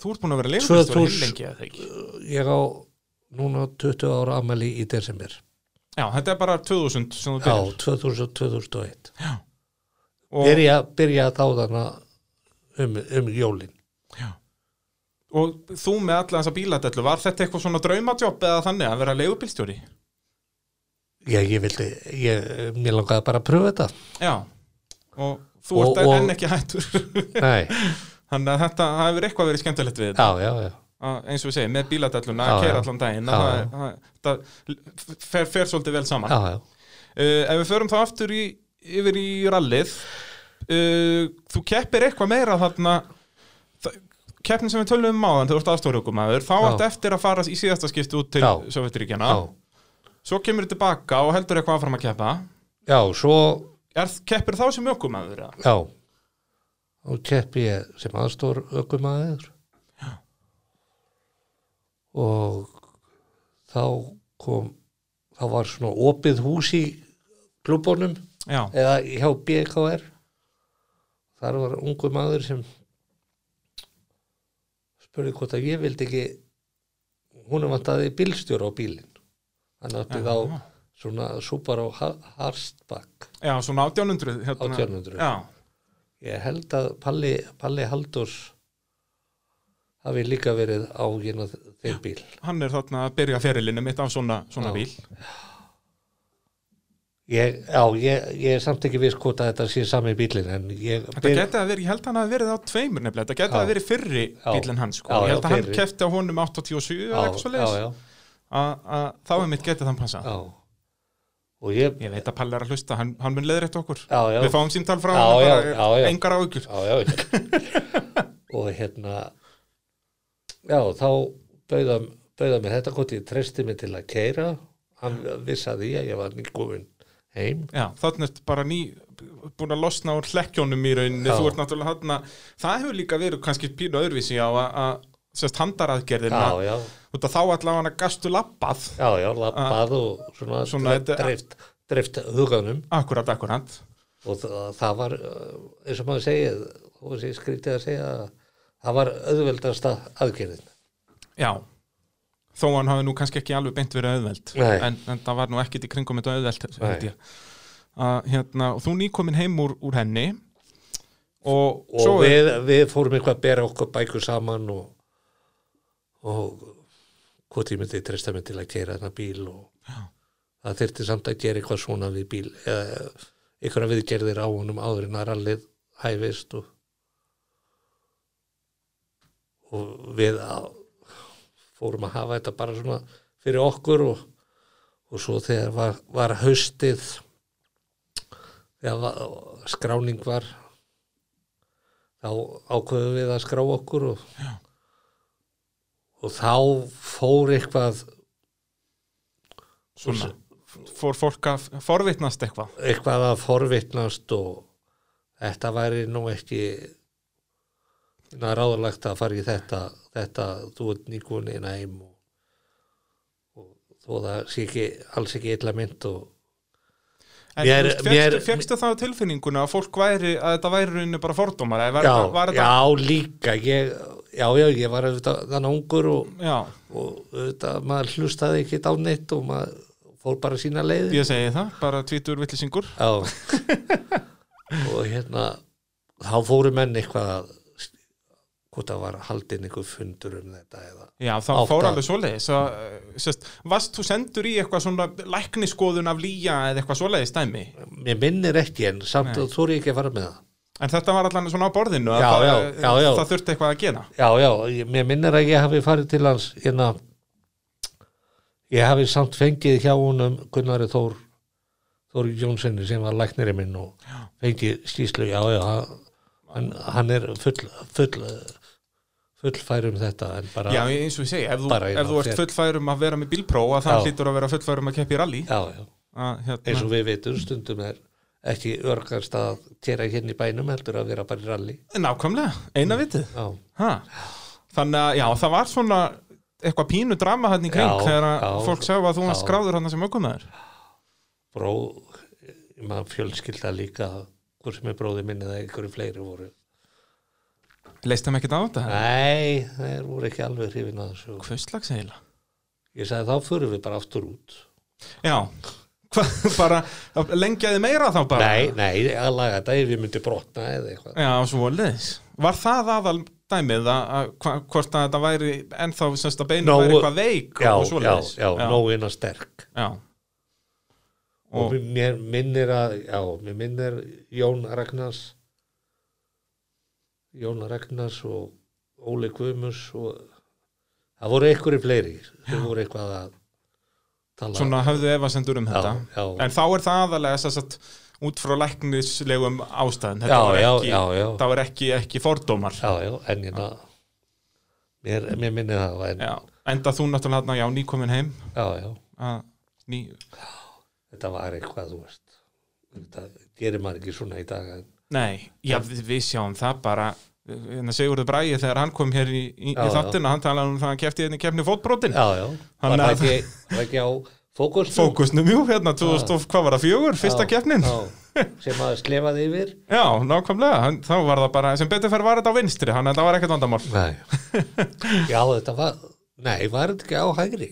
Þú ert búin að vera leigubílstjóri 2000 lengi eða ekki? ég á núna 20 ára amæli í desember Já, þetta er bara 2000 sem þú já byrjar. 2000-2001 Og- byrja, byrja þá þarna um, um jólin Og þú með alla þessa bíladellu, var þetta eitthvað svona draumadjobb eða þannig að vera leigubílstjóri? ég, ég vildi ég, mér langaði bara að pröfa þetta Já, og þú Og- ert og- enn ekki hættur. nei Þannig að þetta það hefur eitthvað verið skemmtilegt við þetta. já já já Að, eins og við segjum, með bíladelluna, Já, að kera já. allan daginn, Já, að það, það, það fer, fer svolítið vel saman. já já Uh, ef við förum þá aftur í, yfir í rallið, uh, þú keppir eitthvað meira þarna, það- keppnin sem við tölum um áðan, þú ert aðstórjókumæður, þá Já. ert eftir að fara í síðasta skipti út til Já. Sovjeturíkjana. já Svo kemur þetta baka og heldur eitthvað áfram að keppa. já svo Er, keppir þá sem ökumæður? eða? Já, og keppi ég sem aðstór ökumæður og þá kom þá var svona opið hús í klubunum já, eða hjá BKR þar var ungu maður sem spurði hvort að ég vildi ekki hún vantaði bílstjóra á bílinn hann átti Já, þá já. svona súpar á Harstbakk já, svona 1800 hérna. 1800. Já, ég held að Palli, Palli Haldurs hafi líka verið á hérna þeir bíl hann er þarna að byrja ferilinu mitt af svona, svona Já. bíl ég, já, ég, ég er samt ekki viss hvort að þetta sé sami bílinn en ég Þetta geta að verið, ég held hann að verið á tveimur nefnilega, þetta geta Já. að verið fyrri Já. bílinn hans sko, Já, ég já, held að hann fyrri. kefti á honum 87 eða eitthvað svo já, leiðis, já, að þá er mitt getið hann passa. já og ég, Ég veit að Palli er að hlusta, hann, hann mun leiðrætt okkur. já, já Við fáum símtal frá Já, hann, já, bara já, já. engar áhyggjur. já, já, já. og hérna já, þá bauða, bauða mér þetta hvort ég treysti mig til að keira hann vissi að því að ég var nýgófin heim Já, þannig er bara ný búin að losna úr hlekkjónum í rauninni Já. þú ert náttúrulega hann það hefur líka verið kannski pínu öðruvísi á að- að sérst handaraðgerðina já, já, út að þá allavega gastu labbað já, já, lappað og svona, Ah. Svona svona þetta- dreift, dreift huganum akkurat, akkurat og það, það var eh, eins og maður segið og þessi skrítið að segja að það var auðveldasta aðgerðin já, þó hann hafi nú kannski ekki alveg beint verið auðveld Nei. en, en það var nú ekkit í kringum þetta auðveld Nei. held ég að hérna, og þú nýkomin heim úr, úr henni og, og svo er- við, við fórum eitthvað að bera okkur bækur saman og, og hvort ég myndi treysta mig til að gera þarna bíl og Já. það þyrfti samt að gera eitthvað svona við bíl eða einhverja viðgerðir á honum áður en að rallið hæfist og, og við að, fórum að hafa þetta bara svona fyrir okkur og, og svo þegar var, var haustið þegar var, skráning var þá ákveðum við að skrá okkur og, og þá fór eitthvað svona, fór fólk að forvitnast eitthvað eitthvað að forvitnast og þetta væri nú ekki na, ráðalagt að fara í þetta þetta þú ert nýgun inn að heim og, og þó það sé ekki alls ekki illa mynd og En Mér- mér, fegstu, mér- fegstu það á tilfinninguna að fólk væri, að þetta væri í rauninni bara fordómar eða var, já, var þetta, já, líka ég, já, já, ég var auðvitað þannig ungur og, já. og auðvitað maður hlustaði ekki á neitt og maður fór bara sína leiði ég segi það, bara tvítur villisingur Já og hérna þá fóru menn eitthvað að hvort það var haldin einhver fundur um þetta eða já, þá Átta. fór alveg svoleiðis að, eh, sérst, varst þú sendur í eitthvað svona lækniskoðun af lýja eða eitthvað svoleiðis dæmi mér minnir ekki en samt að þú er ekki að fara með það en þetta var allan svona á borðinu að Já, það, já, já, já. það þurfti eitthvað að gera Já, já, ég, mér minnir að ég hafi farið til hans hérna ég hafi samt fengið hjá honum Gunnari Þór Þór Jónssoni sem var lækniri minn og fengið skýslu, já, já hann, hann er full, full fullfærum þetta en bara já, eins og ég segi, ef þú, Bara, já, ef þú ert þér- fullfærum að vera með bílprófa það Já. hlýtur að vera fullfærum að keppi í rally já, já. Að, eins hérna. og við veitum stundum er ekki örgast að gera hérna í bænum heldur að vera bara í rally nákvæmlega, eina vitið já, Ha. Þannig að já, það var svona eitthvað pínu drama hann í kring Já, þegar að já, fólk sjá að þú já. varst skráður hann sem ökumæður. bró maður fjölskylda líka hvort sem er bróði minni eða einhverju fleiri voru Leist þeim ekkert á þetta? nei, þeir voru ekki alveg hrifin að þessu Hvað slags heila? ég sagði þá förum við bara aftur út Já, Hva, bara þá lengjaði meira þá bara? nei, nei, að laga þetta ef ég myndi brotna eða eitthvað Já, svo leis. Var það aðal dæmið að, að hva- hvort að þetta væri ennþá semst að beinu Nógu- væri eitthvað veik já, og svo já, leis? já, já. nógin að sterk já. og Og, mér minnir að já, mér minnir Jón Ragnars Jón Ragnars og Óli Guðmus og það voru einhverju fleiri sem voru eitthvað að tala svona höfðu efasendur um já, þetta. já, En þá er það aðalega þess að út frá læknislegum ástæðum. Þetta já, var já, ekki, já, já, það var ekki, ekki fordómar. já, já en ég mér, mér minnir það en, já. Já, enda þú náttúrulega hérna, já, nýkomin heim já, að, ný, þetta var eitthvað, þú veist þetta gerir maður ekki svona í dag en, Nei, já, við, við sjáum það bara en að Sigurður Bræði þegar hann kom hér í, í, Já, í já. þáttina, hann talaði um það að hann kefti henni kefni fótbrotin já, já, Hann var það að- ekki, var ekki á Fókus fókusnum, jú, hérna, 2000, og- hvað var það, fjögur, fyrsta keppnin? sem að slefaði yfir Já, nákvæmlega, hann- þá var það bara, sem betur fyrir var þetta á vinstri, hann þetta var ekkert vandamál. Nei. Já, þetta var, nei, var þetta ekki á hægri?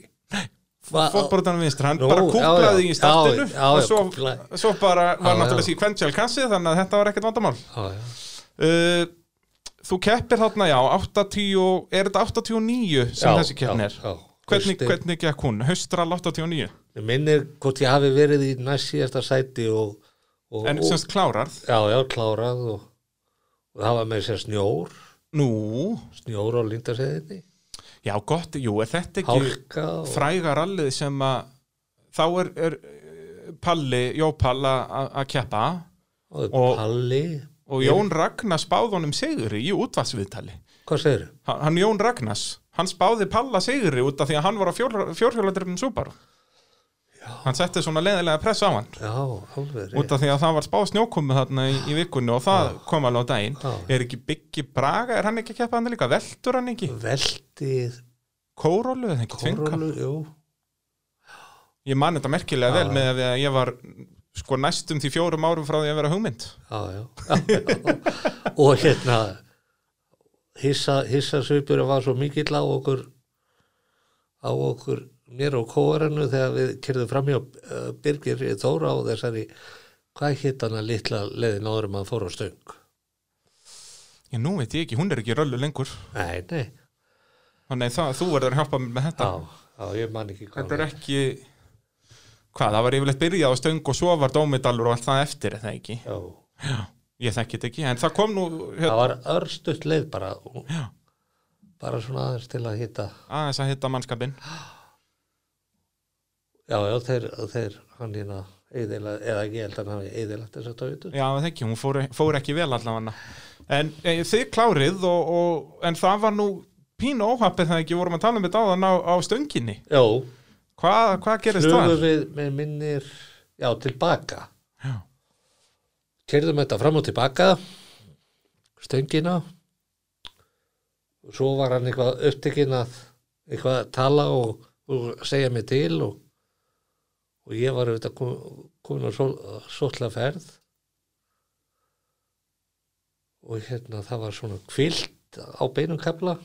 Va- Fótbrotan vinstri, hann Nú, bara já, kúplaði já. í startinu Já, já, og já, svo, kúplaði. svo bara var Já, náttúrulega já. síkvensjál kassi, þannig að þetta var ekkert vandamál. Já, já. Uh, þú keppir þarna, já, 80, og- er þetta 89 sem Já, þessi keppni já, er? já. Hvernig, Haustið. hvernig gekk hún? Haustral 89, Ég minnir hvort ég hafi verið í næst síðasta sæti og, og, en og semst klárarð. já, já, klárað og, og það var með sér snjór, Nú, snjór á lindaseðinni, já, gott, jú, er þetta ekki... hálka og fræga rallið sem að þá er, er eh, Palli, Jópall að að keppa og, og- palli, og Jón Ragnars spáði honum sigri í útvarsviðtali hvað segirðu? hann, hann Jón Ragnars, hann spáði Palla sigri út af því að hann var á fjórhjóladrifnum Subaru hann setti svona leðilega press á hann Já, út alveg rétt. af því að það var spáð snjókomu þarna í, í vikunni og það kom alveg á daginn Já. er ekki Biggi Braga, er hann ekki að keppa hann líka veltur hann ekki, Veltið, Kórólu eða ekki Tvinka korrolu, jú, Ég man þetta merkilega vel með að við- ég var sko næstum því fjórum árum frá því að vera hugmynd. já, já, já, já. og hérna, hissa, hissasvipur var svo mikill á okkur, á okkur, mér og kóaranu þegar við kyrðum framhjá uh, Birgir Þóra á þessari, hvað hitt hann að litla leiðin áður en maður fór á stöng? Ég nú veit ég ekki, hún er ekki í röllu lengur. Nei, nei, Þannig að það- þú verður að hjálpa mér með þetta. já, já, ég man ekki Þetta hvað. er ekki, hvað, það var yfirleitt byrjað á stöng og svo var dómidalur og allt það eftir, er það ekki? Já, Já, ég þekki þetta ekki, en það kom nú hér, það var örstutt leið bara, Hérna- Já. bara svona aðeins til að hitta. aðeins að hitta mannskapin. Já, já, þeir, þeir hann hérna eðila, eða ekki ég held að hann hafi eðilagt þess að tóitu. Já, það ekki, hún fór, e- fór ekki vel allavega. En e, þið klárið, og, og, en það var nú pínu óhappið það ekki, vorum að tala um þetta áðan á, á stönginni. Já, Hvað, hvað gerist flugum það? við með minnir, já, tilbaka. Já. Kerðum þetta fram og tilbaka, stöngina, og svo var hann eitthvað upptekinn að eitthvað að tala og, og segja mig til og, og ég var auðvitað kom- komin á sótla ferð og hérna það var svona kvilt á beinum kafla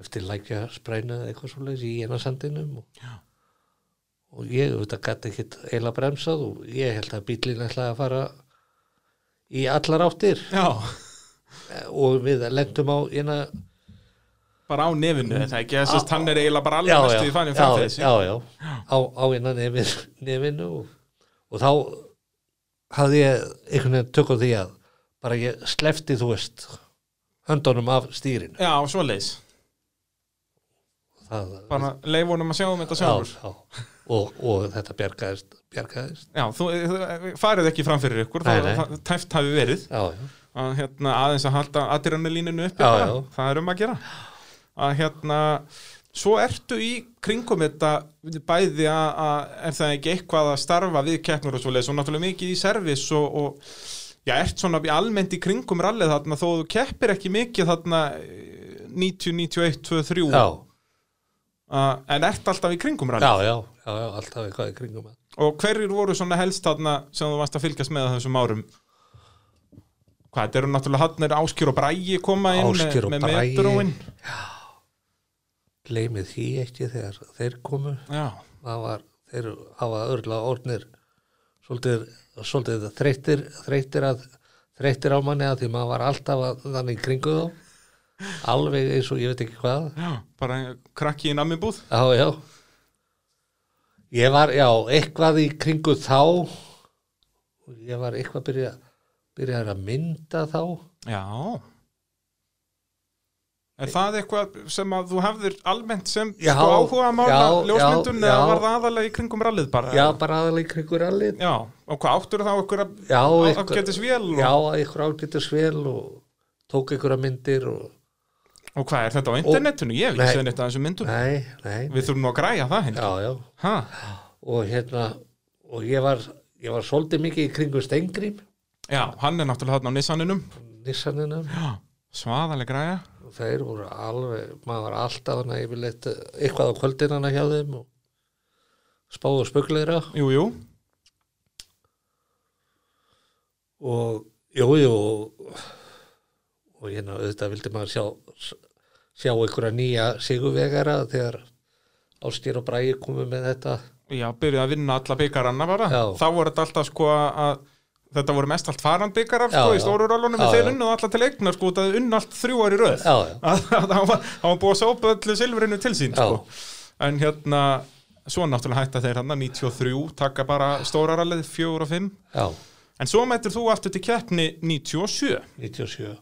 eftir lækja spræna eða eitthvað svoleiðis í einasandinum og, og ég auðvitað gæti ekkit eila bremsað og ég held að bíllinn ætlaði að fara í allar áttir Já, Eh, og við lendum á eina bara á nefinu þetta ekki, þess að hann er eiginlega bara alveg já, já, næstu í þannig fram fyrir já, sig. já, á, á innan nefin, nefinu og, og þá hafði ég einhvern veginn tök á því að bara ég slefti, þú veist, höndunum af stýrinu. Já, svo leis. Það, Bara leif honum að sjá um þetta já, sjálfur. já, og, og þetta bjargaðist, bjargaðist, Já, þú þú- farið ekki fram fyrir ykkur, Nei, það, nei. það tæft hafi verið. já, já, Að, hérna, aðeins að halda adrenalíninu uppi, Já, bara. já. það er um að gera. Að hérna, svo ertu í kringum þetta bæði að, að er það ekki eitthvað að starfa við keppnur og svo leis og náttúrulega mikið í servis og, og já, ert svona í almennt í kringum rallið þarna þó þú keppir ekki mikið þarna eh, 90, 91, 23 já, uh, en ert alltaf í kringum já, rally já, já, já, alltaf eitthvað í kringum að. og hverjir voru svona helst þarna sem þú varst að fylgjast með á þessum árum hvað, þetta eru náttúrulega hann er Áskjör og Brægi koma inn Ásgeir og með, með Bragi. metróin Gleimið því ekki þegar þeir komu, já, það var, þeir hafa örla orðnir svolítið, svolítið þreyttir, þreyttir, að, þreyttir á manni að því maður var alltaf að, þannig í kringu þá alveg eins og ég veit ekki hvað já, bara krakki í namibúð já, já ég var, já, eitthvað í kringu þá ég var eitthvað byrja, byrjaður að mynda þá já Er það eitthvað sem að þú hefðir almennt sem Já, sko áhuga mála já, ljósmyndun já, eða já. var það aðalega í kringum rallið bara? já, bara aðalega í kringu rallið Já, og hvað áttur þá ykkur að já, ágætis vél og- já, eitthvað ágætis vel og tók einhverja myndir og Og hvað er þetta á internetinu? Ég hef Nei. ekki séð neitt að þessum myndum. nei, nei, Við þurfum nú að græja það hinn. já, já Ha, og hérna og ég var, ég var svolítið mikið í kringu Stengrim já, hann er náttúrulega hann á Nissaninum. Nissanina, Já, svaðaleg græja. þeir voru eh, alveg maður var alltaf hana yfirleitt eitthvað á kvöldinana hjá þeim og spáð og spökulegra Jú, jú, og jú, jú og, og hérna auðvitað vildi maður sjá sjá einhverja nýja sigurvegara þegar Ástýr og Bræði komu með þetta já, byrjuð að vinna alla byggaranna bara Já. Þá voru þetta alltaf sko að Þetta voru mest allt faran byggarar Já, sko í já. stóru rallunum og Já, þeir já. unnu alltaf til eignar sko Það unnu allt þrjú ári röð Já, já. Að- að Það var það var búið að sópa öllu silfrinu til sín Já. sko En hérna, svo náttúrulega hætta þeir hann 93, taka bara stóra rallið 4 og 5 já, En svo mættir þú aftur til keppni 97 97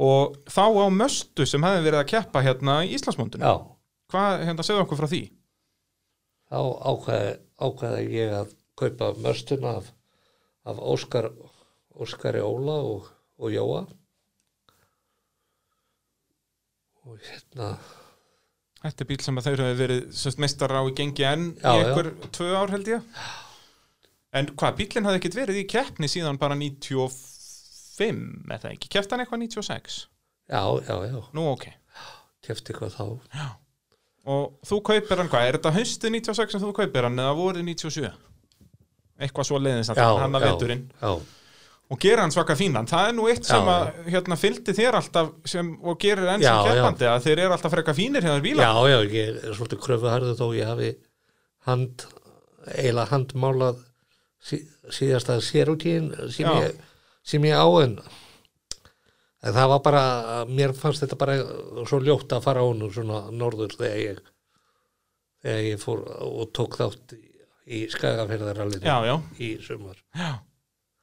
og þá á möstu sem hefði verið að keppa hérna í Íslandsmóndunum. já, Hvað, hérna, segðu okkur frá því? þá ákvaði, ákvaði ég að kaupa mörstuna af, af Óskar Óskari Óla og, og Jóa og hérna Þetta er bíl sem að þeir hefði verið semst, meistar á í gengi enn Já, í já. einhver tvö ár held ég. En hvað, bílinn hafði ekkert verið í keppni síðan bara 95, eða ekki? Kefti hann eitthvað 96? já, já, já, Nú, ok. kefti hvað þá Og þú kaupir hann, hvað, er þetta haustu 96 sem þú kaupir hann eða voru 97? Eitthvað svo leiðins að já, hann að já, veturinn. já, og gera hann svaka fínan það er nú eitt Já, sem að hérna, fylgdi þér alltaf sem, og gerir enn Já, sem já. keppandi að þeir eru alltaf freka fínir hérna bíla já, já, ég er svolítið kröfuharðu þó ég hafi hand, eiginlega handmálað sí, síðasta sérutíðin sem, Já. ég- sem ég á en en það var bara, mér fannst þetta bara svo ljótt að fara hún svona norður þegar ég þegar ég fór og tók þátt í, í skagaferðarallinu já, já. í sumar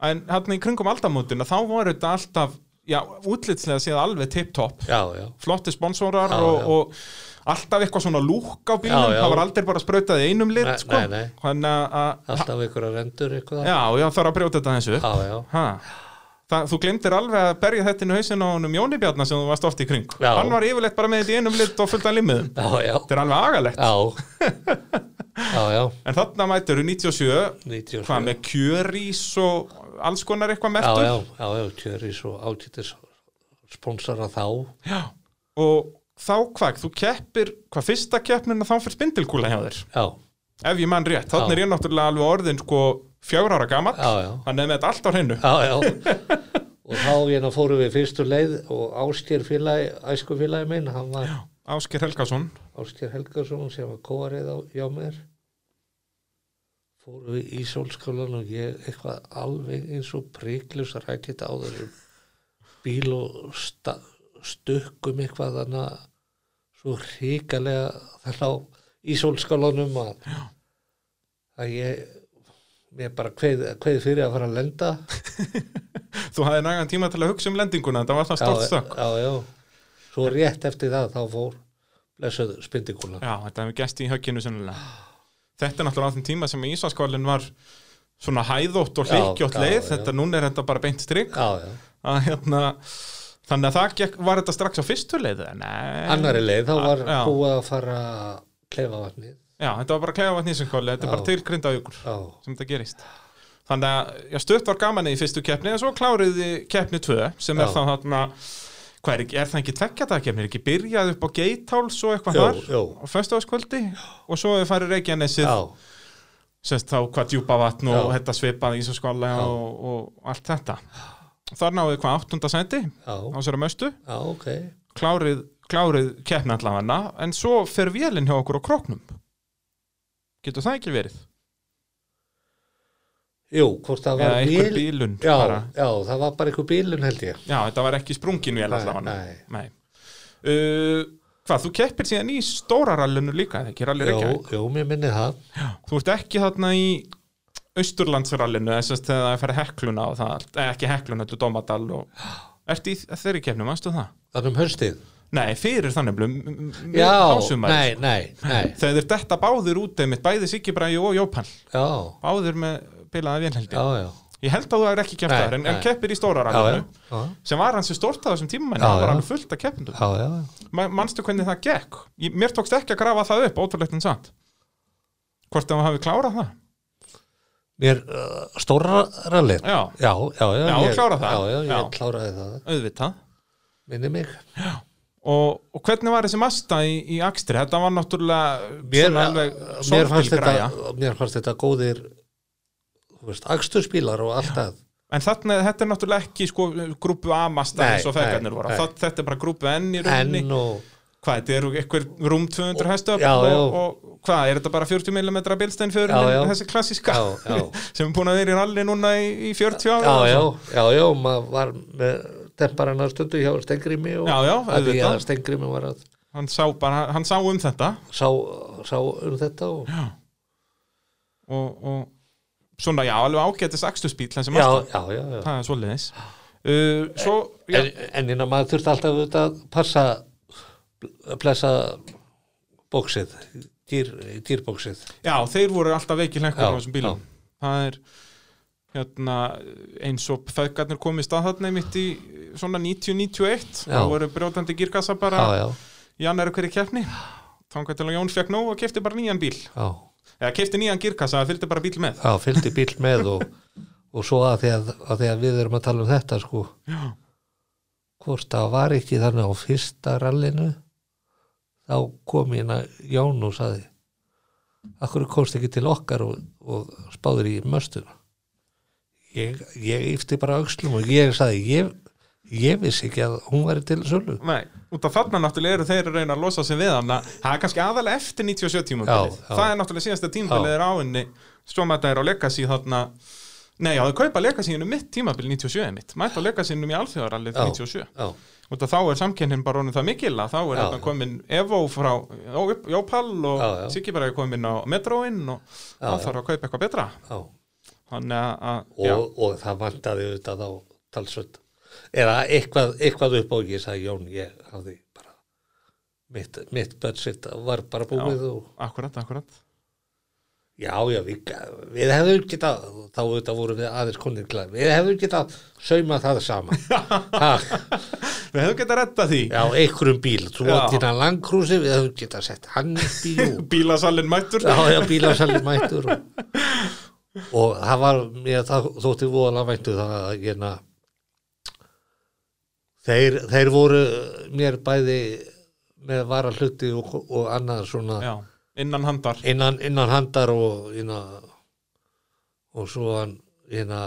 en hann í kringum aldamótina þá voru þetta alltaf já, útlitslega séð alveg tip-top já, já, flotti sponsórar Já, já. og, og alltaf eitthvað svona lúk á bílum Já, já. það var aldrei bara sprautað í einum lit Nei, sko. nei, nei. þannig að- að alltaf einhverja rendur eitthvað já, já, þarf að brjóta þetta þessu já, já, Það, þú glemdir alveg að berja þetta inn í hausinn á honum Jóni Bjarnar sem þú varst oft í kring Já. hann var yfirleitt bara með þetta í einum lit og fullt að limmiðum já, já þetta er alveg agalegt já, já, já En þarna mætur 97, 97. hvað með kjörís og alls konar eitthvað já, mertur já, já, já, Tjöri svo ágættis sponsara þá og þá hvað, þú keppir, hvað fyrsta keppnin að þá fyrir spindilkúla hjá þér já, ef ég mann rétt, þannig er ég náttúrulega alveg orðin sko fjögur ára gamall Já, já. hann er með þetta allt á hreinu já, já og þá hérna fórum við fyrstu leið og Ásker félagi, æsku félagi minn hann var Ásker Helgason, Ásker Helgason sem var kóarið á hjá mér fórum við í sólskálan og ég eitthvað alveg eins og príklus rækitt á þessum bíl og sta, stukkum eitthvað þannig að svo hrikalega þannig á í sólskálanum að, að ég mér bara kveð, kveð fyrir að fara að lenda þú hafði nægan tíma til að hugsa um lendinguna þetta var það já, stórt stökk já, já svo rétt eftir það þá fór blessuð spindikúla Já, þetta hefur gæst í högginu sennilega Þetta er náttúrulega á þeim tíma sem Ísvaskvalin var svona hæðótt og Já, hlykkjótt já, leið já. þetta núna er þetta bara beint strik já, já að hérna þannig að það gekk, var þetta strax á fyrstu leið eða? nei, annari leið, þá var já. búið að fara klefa vatnið já, þetta var bara klefa vatn ísinkóli, þetta er Já. bara til grinda ykkur já, sem þetta gerist þannig að, já, stutt var gaman í fyrstu keppni en svo kláriði keppni 2 sem Já. er þá þarna hvað er, ekki- er það ekki tveggja dag keppni, er ekki byrjað upp á geitháls og eitthvað Jú, þar jú. á föstuðaskvöldi og svo hefur farið Reykjanesið já, semst þá hvað djúpa vatn og Já. þetta svipað ísinskóli Já. og, og allt þetta þar náðu hvað áttunda sendi já, á sér að möstu já, ok klárið, klárið keppni allavega en svo fer vélinn hjá okkur á kroknum getur það ekki verið jú, hvort það eða var einhver bíl bílun já, bara. já, það var bara einhver bílun held ég já, þetta var ekki sprungin vél Nei, allavega nei. Nei. Uh, hvað, þú keppir síðan í stóra rallinu líka, eða ekki rallir jú, ekki jú, mér minni það þú ert ekki þarna í austurlandsrallinu eða semst þegar það fer hekluna og það allt, eða ekki hekluna, þetta er domadal og ert í þeirri keppnum, veistu það? þannig um höstið Nei, fyrir þannig blum, m- m- já, ásumari. nei, nei, nei þegar þeir detta báðir út einmitt, bæði Siggi Bræði og Jópann já, áður með bilaða vélheldi já, já, ég held að þú hefur ekki keppt Nei, þar en, en nei. keppir í stóra já, já, rallinu já. sem var hansi stórt á þessum tíma en Já, það var já. alveg fullt af keppindum Já, já, Ma- manstu hvernig það gekk ég, mér tókst ekki að grafa það upp, ótrúlegt en satt hvort að hann hafi klárað það mér uh, stóra rallið já, já, já, já, Já, ég, klára það. já, já, ég Já. kláraði það, auðvitað minni mig og, og hvernig var þessi masta í, í akstri? Þetta var náttúrulega mér, svona alveg mér, fannst sorgbílgræja. þetta, mér fannst þetta góðir þú veist, aksturspílar og allt að En þarna, þetta er náttúrulega ekki sko, grúpu A-masta Nei, eins og fegarnir nei, voru. nei. Það, þetta er bara grúpu N í rauninni. enn og Hvað, þetta eru eitthvað rúm 200 hestöfl Já, já. og, og hvað, er þetta bara 40 mm bilstein fyrir Já, já. þessi klassíska já, já, sem er búin að vera í ralli núna í, í 40 ára? já, já, já, já maður var með demparana stundu hjá Stengrimi og Já, já, að því auðvitað. að Stengrimi var að Hann sá, bara, hann sá um þetta sá, sá um þetta og já. Og, og svona, já, alveg ágætis akstursbíl þessi já, masta, já, já, já. það er svoleiðis. Uh, svo, já, En, en innan maður þurfti alltaf auðvitað að passa að blessa bóksið, dýr, dýrbóksið Já, þeir voru alltaf veikið lengur á Já, þessum bílum Það er hérna, eins og feðgarnir komið stað þarna mitt í svona 90-91 Já. það voru brjótandi gírkassa bara já, já, í annar hverju keppni þangar til að Jón fekk nóg og kefti bara nýjan bíl já, eða kefti nýjan gírkassa, það fylgdi bara bíl með já fylgdi bíl með og, og svo að því að, að því að við erum að tala um þetta sko Já, hvort það var ekki þannig á fyrsta rallinu þá kom hérna Jón og saði Akkur komst ekki til okkar og, og spáður í möstuna ég, ég yfti bara öxlum og ég saði ég, ég vissi ekki að hún væri til sölu nei, út af þarna náttúrulega eru þeir að reyna að losa sig við hana það er kannski aðalega eftir 97 tímabilið Já, já. það er náttúrulega síðasta tímabilið er á henni svo maður er á legacy þarna Nei, já, þau kaupa legasínum mitt tímabil 97 mitt, mæta legasínum í alþjóðarallið Já. 97 já, og það, þá er samkennin bara honum það mikil að þá er Já. þetta komin Evo frá Jó- Jópall og Já, já. Siggi bara er komin á Metroinn og Já, það já. þarf að kaupa eitthvað betra já. þannig að- að já, Og, og það vantaði auðvitað á talsvöld eða eitthvað, eitthvað upp á ég sagði Jón ég hafði bara mitt, mitt budget var bara búið og akkurat, akkurat Já, já, við, við hefðum geta, þá auðvitað vorum við aðeins konir glæð, við hefðum geta sauma það saman. ha, Við hefum getað rettað því já, einhverjum bíl, þú Já. átt þína langkrúsi, við hefðum geta sett hann í bíl og Bílasallin mættur já, já, bílasali mættur og, og það var, mér það, þótti voðalega mættu það að hérna, þeir, þeir voru mér bæði með varahluti og, og annað svona Já, innan handar innan, innan handar og hérna og svo hann hérna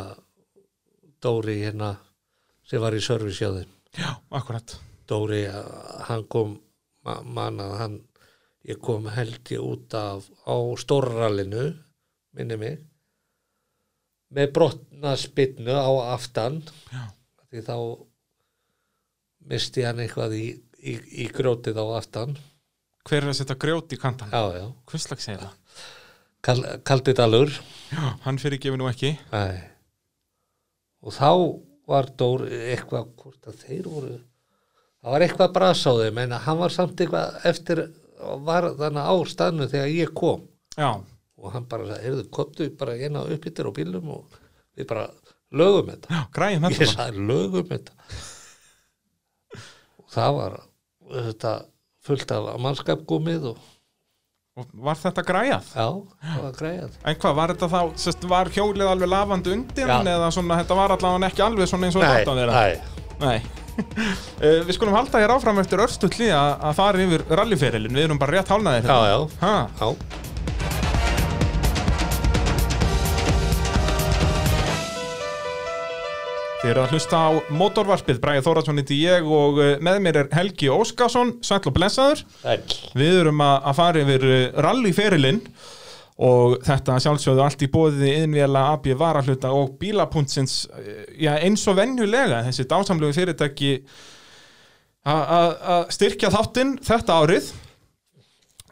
Dóri hérna sem var í service hjá þeim Já, akkurat Dóri a- hann kom ma- manað hann ég kom held ég út af á stórralinu minni mig með brotna spinnu á aftan Já. því þá misti hann eitthvað í, í, í grjótið á aftan Hver er að setja grjót í kantan? já já, Hvers slags er það? Kal, kaldið dalur Já, hann fyrir gefið nú ekki Nei. Og þá var Dór eitthvað, hvort að þeir voru, það var eitthvað bras á þeim, en hann var samt eitthvað eftir, var þannig á stannu þegar ég kom Já, og hann bara sagði, heyrðu, komdu bara hérna upp yttir á bílum og við bara lögum þetta. já, græðum þetta Ég bara. sagði, lögum þetta. og það var þetta fullt af mannskapgúmið og Og Var þetta græjað? já, það var greiðað. En hvað, var þetta þá, sest, var hjólið alveg lafandi undir Já. eða svona, þetta var allavega ekki alveg svona eins og þetta átti að vera? nei, Nei. Eh, við skulum halda hér áfram eftir örstulli að, að fara yfir rallyferilin. Við erum bara rétt hálnaðir. já, já, Ha, já. þið eru að hlusta á motorvarpið. Bræði Þóraðsson heiti ég og eh, með mér er Helgi Óskarsson, sæll og blessaður. Æll. Við erum að, að fara yfir eh, rallyferilinn og þetta að sjálfsögðu allt í bóðið innvjala AB varahluta og bílapuntsins eh, já, eins og venjulega þessi dásamlegu fyrirtæki a- a- að styrkja þáttinn þetta árið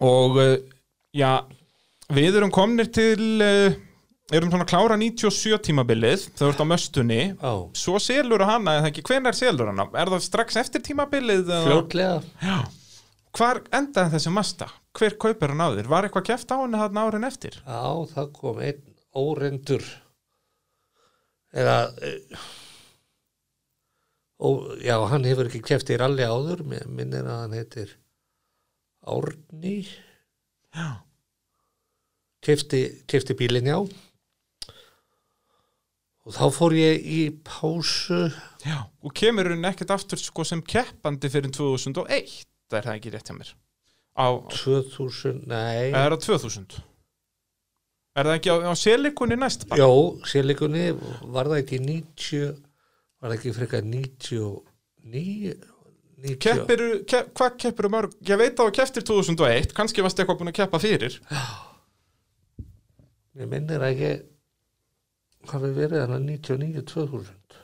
og eh, já við erum komnir til eh, erum svona að klára 97 tímabilið þau eru á möstunni Já, svo selur hana eða ekki, hvenær selur hana? Er það strax eftir tímabilið? eða- fljótlega. Já. Hvar endaði þessi masta? Hver kaupir hann á þér? Var eitthvað keft á henni þarna árin eftir? Já, það kom einn óreindur eða eh, ó, já, hann hefur ekki keft í ralli áður, mér minnir að hann heitir Árni Já. kefti, kefti bílinn já og og þá fór ég í pásu Já, og kemur hún ekkert aftur sko sem keppandi fyrir 2001, það er það ekki rétt hjá mér. Á, 2000, nei, eða er það 2000? Er það ekki á, á selikunni næst bara? já, sérleikunni var það ekki 90, var það ekki frekar 99, 90, Keppir, kepp, hvað keppir um mörg? Ég veit að þú kepptir 2001, kannski varst eitthvað búin að keppa fyrir. ég minnir að ég hafi verið hann 99, 2000.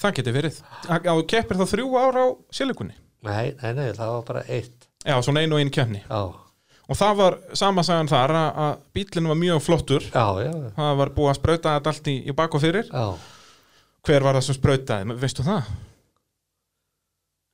Það geti verið. Að að þú keppir þá þrjú ára á selikunni. Nei, nei, nei, það var bara eitt, Já, svona einu og einu keppni. já, Og það var samasagan þar að, að bílinn var mjög flottur. já, já, Það var búið að sprauta þetta allt í, í bak og fyrir. já, Hver var það sem sprautaði? Veistu það?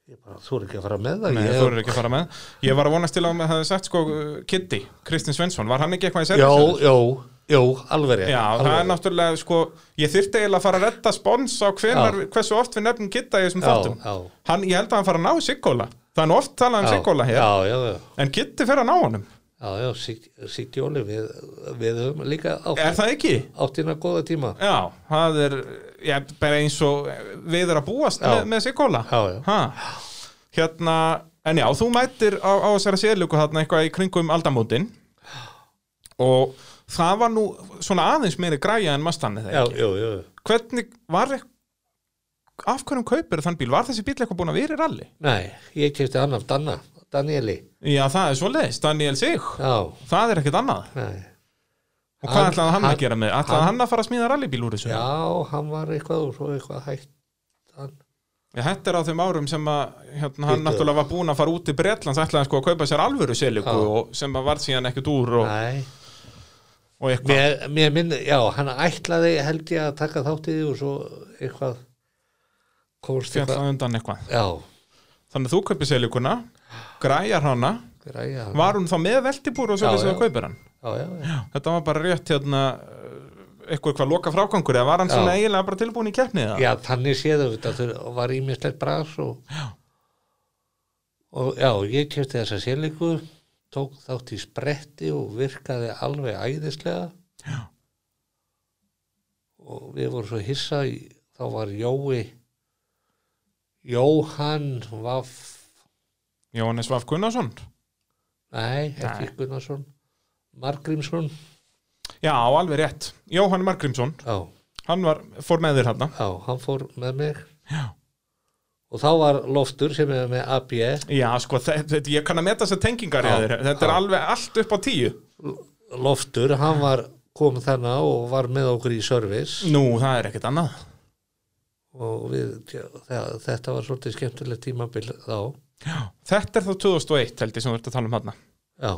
ég bara, þú er ekki að fara með það, Nei, ég, þú eru ekki að fara með. Ég var að vonast til að maður hefði sagt sko uh, Kitty, Kristinn Svensson, var hann ekki eitthvað í já, servisinu? já, já, alveg, rétt, Já, það alveg er náttúrulega sko, ég þyrfti eiginlega að fara að redda spons á hvenar, hversu oft við nefnum Kitta í þessum rétt. þáttum. já, Hann, ég held að hann fara að ná Sikkóla. Það er nú oft talað um já, Sikkóla já, hér, já, já, já. en Kitti fer að ná honum. Já, já, Sigtjóli, við, við höfum líka átt, Er það ekki? áttina góða tíma. Já, það er, já, bara eins og við er að búast Já. með, með Sikkóla. Já, já. Ha. Hérna, en já, þú mætir á, á þessari sérlíku þarna eitthvað í kringum aldamótin og það var nú svona aðeins meiri græja en mastanni Já, þegar. já, já. Hvernig var ekk- af hverjum kaupir þann bíl? Var þessi bíl eitthvað búin að vera í ralli? Nei, ég kefti hann af Danna, Danieli. Já, það er svoleiðis, Daniel Sig. Já, Það er ekkert annað. nei. Og hvað Hann- ætlaði hann að hann- gera með? Ætlaði hann að fara að smíða rallybíl úr þessu? Já, hann var eitthvað og svo eitthvað hægt. Hann, Já, þetta er á þeim árum sem að hérna, hann Bíddu. náttúrulega var búinn að fara út í Bretlands ætlaði hann sko að kaupa sér alvöru seliku Já. og sem að varð síðan ekkert úr og, nei. og eitthvað Mér, mér minn, já, hann ætlaði held ég að taka þátt í því og svo eitthvað komst eitthvað. fjallað undan eitthvað Já, þannig að þú kaupir selikuna, græjar hana græja. hann. var hún þá með veltibúr og svo Já, þess að já. þú kaupir hann Já, já, já. þetta var bara rétt hérna eitthvað hvað loka frákangur eða var hann Já. svona eiginlega bara tilbúin í keppni eða? Já, þannig séðu þetta þau- og var ímislegt bras og já. og já, ég kefti þessa sérleiku tók þátt í spretti og virkaði alveg æðislega já. og við vorum svo hissa í, þá var Jói Jóhann Vaff Jóhannes Vaf Gunnarsson nei, ekki Gunnarsson Margrímsson já alveg rétt, Jóhann Margrímsson já, hann var, fór með þér hann já, hann fór með mig Já. og þá var Loftur sem er með E. AB já sko þetta, ég kann að meta þessar tengingar Já. í þér þetta er Já. alveg allt upp á tíu Loftur, hann var kom þannig og var með okkur í servis Nú, það er ekkert annað. og við, það, þetta var svolítið skemmtilegt tímabil þá Þetta er þá 2001 held ég sem þú ert að tala um þarna. já,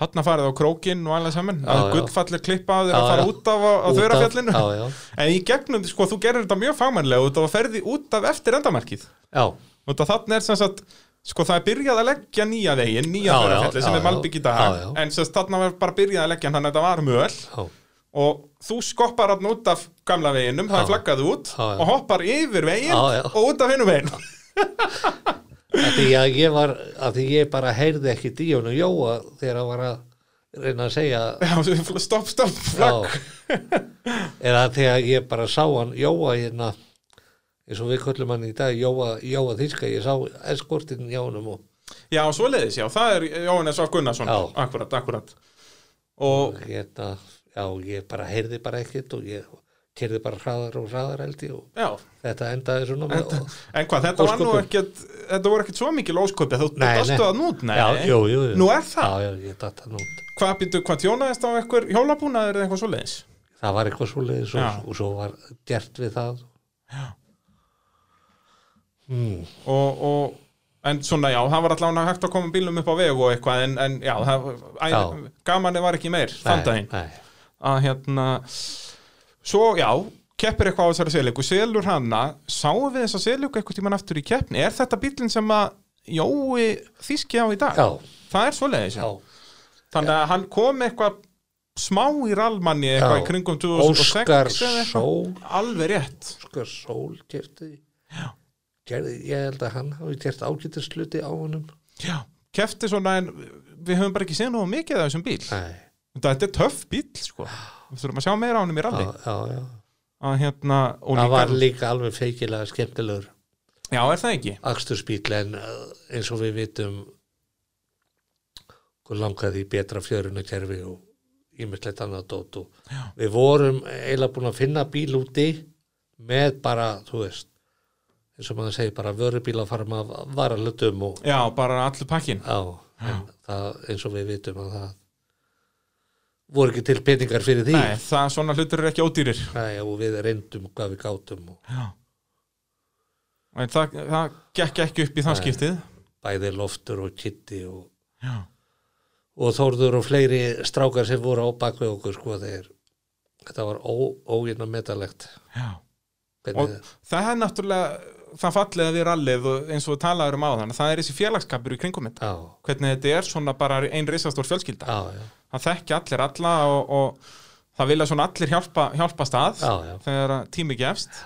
Þarna farið á krókinn og alveg saman. Já, að já. gullfallir klippa á þér að Já, fara já. út af á, á Út af- þurrafjallinu. já, já, En í gegnum, sko, þú gerir þetta mjög fagmannlega og það ferði út af eftir endamarkið. já, Og það þarna er sem sagt, sko, það er byrjað að leggja nýja veginn, nýja Já, já, þurrafjalli sem já, er Malbygg í dag. já, já. En sem sagt, þarna var bara byrjað að leggja hann, þannig að þetta var möl. já, Og þú skoppar hann út af gamla veginum, það Já. er flaggað út Já, já. og hoppar yfir veginn Já, já. og út af hinnum veginn. Af því að ég var að því ég bara heyrði ekki Díonu Jóa þegar hann var að reyna að segja Já, stopp, stopp, flagg. eða þegar ég bara sá hann Jóa hérna eins og við köllum hann í dag Jóa, Jóa Þíska, ég sá eskortinn hjá honum og Já, svoleiðis, já, það er Jóhannes Af Gunnarsson Já. Akkurat, akkurat Og hérna, já, ég bara heyrði bara ekkert og ég kerði bara hraðar og hraðar held ég og já, þetta endaði svona með og, en hvað, þetta var nú Ósköpum. ekkert Þetta voru ekkert svo mikil ósköpi Þú Nei, nei. dastu það nút, nei já, jú, jú, jú. Nú er það, já, já, ég datt það nú hvað býttu, hvað tjónaðist á einhver hjólabúnaður eða eitthvað svoleiðis það var eitthvað svoleiðis Já. og, og svo var gert við það hmm, og, og, en svona, já, það var allan hægt að koma bílum upp á veg og eitthvað En, en já, það, æ, Já. gamanið var ekki meir Þann daginn nei, að hérna svo já, keppir eitthvað á þessari seliku selur hana, sáum við þessa seliku eitthvað tíman aftur í keppni, er þetta bílinn sem að Jói þýski á í dag já, það er svoleiðis, já þannig að hann kom eitthvað smá í rallmanni eitthvað Já. í kringum 2006 Óskar eða eitthvað. Sól alveg rétt Óskar Sól kerti gerði, ég held að hann hafi gert ágætisluti á honum já, keppti svona en við höfum bara ekki séð nú mikið af þessum bíl nei, þetta er töff bíl sko, við þurfum að sjá meira á hann í já, ralli já, já að hérna og það var líka, líka alveg feikilega skemmtilegur já er það ekki aksturspíl en uh, eins og við vitum okkur langaði í betra fjörunakerfi og ímislegt annað dót og Já. við vorum eiginlega búin að finna bíl úti með bara, þú veist eins og maður segir bara vörubíl að fara með varalötum og já bara allur pakkin á, en það eins og við vitum að það voru ekki til peningar fyrir því Nei, það, svona hlutur eru ekki ódýrir Nei, og við reyndum hvað við gátum og Já En það, það gekk ekki upp í það skiptið bæði loftur og kitti og Já og Þórður og fleiri strákar sem voru á bakvið okkur sko þeir þetta var óginna metalegt Já Og hvernig, það er náttúrulega það fallega við rallið og eins og við talaður um áðan það er þessi félagskapur í kringum þetta á, hvernig þetta er svona bara ein reisastór fjölskylda á, já, það þekki allir alla og, og það vilja svona allir hjálpa, hjálpa stað Já, já. þegar að tími gefst